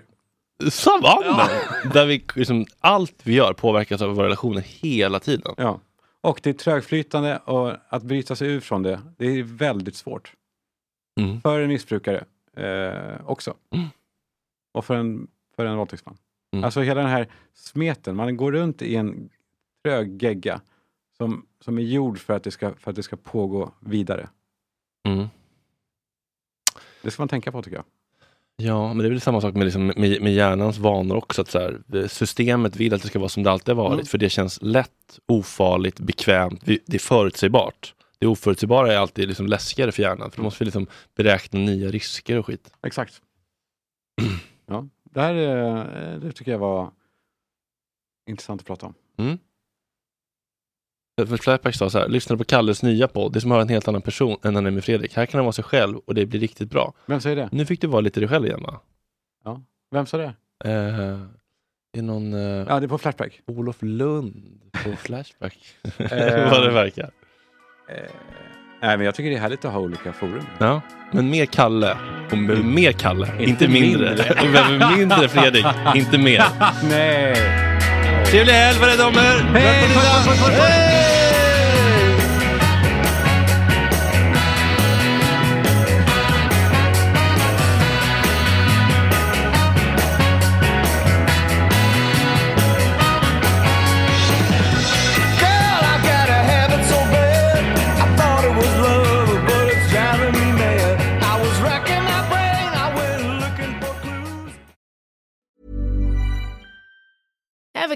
D: savannen! Där vi, liksom, allt vi gör påverkas av våra relationer hela tiden.
E: Ja. Och det är trögflytande och att bryta sig ur från det, det är väldigt svårt.
D: Mm.
E: För en missbrukare eh, också.
D: Mm.
E: Och för en, för en våldtäktsman.
D: Mm.
E: Alltså hela den här smeten, man går runt i en trög gegga som, som är gjord för att, det ska, för att det ska pågå vidare.
D: Mm.
E: Det ska man tänka på tycker jag.
D: Ja, men det är väl samma sak med, liksom, med, med hjärnans vanor också. Att så här, eh, systemet vill att det ska vara som det alltid har varit,
E: Mm.
D: för det känns lätt, ofarligt, bekvämt, vi- det är förutsägbart. Det oförutsägbara är alltid liksom läskigare för hjärnan, för då måste vi liksom beräkna nya risker och skit. *clears throat*
E: Exakt. ja. Det här eh, det tycker jag var intressant att prata om.
D: Mm. För Flashback sa så här, lyssnade på Kalles nya podd, det är som att höra en helt annan person än han är med Fredrik. Här kan han vara sig själv och det blir riktigt bra.
E: Vem säger det?
D: Nu fick du vara lite dig själv igen va?
E: Vem sa det?
D: Eh, det är någon eh,
E: Ja, det är på Flashback.
D: Olof Lund *laughs* på Flashback.
E: Eh.
D: Vad det verkar.
E: Eh, nej, men jag tycker det är härligt att ha olika forum.
D: Ja, men mer Kalle. Och med- mer Kalle, inte, mindre.
E: mindre.
D: Vi behöver mindre Fredrik, inte mer.
E: Nej!
D: Trevlig helg för dig damer! Hej!
J: Girl, I got a habit so bad. I thought it was love, but it's driving me mad. I was racking my brain, I went looking for clues.
H: Ever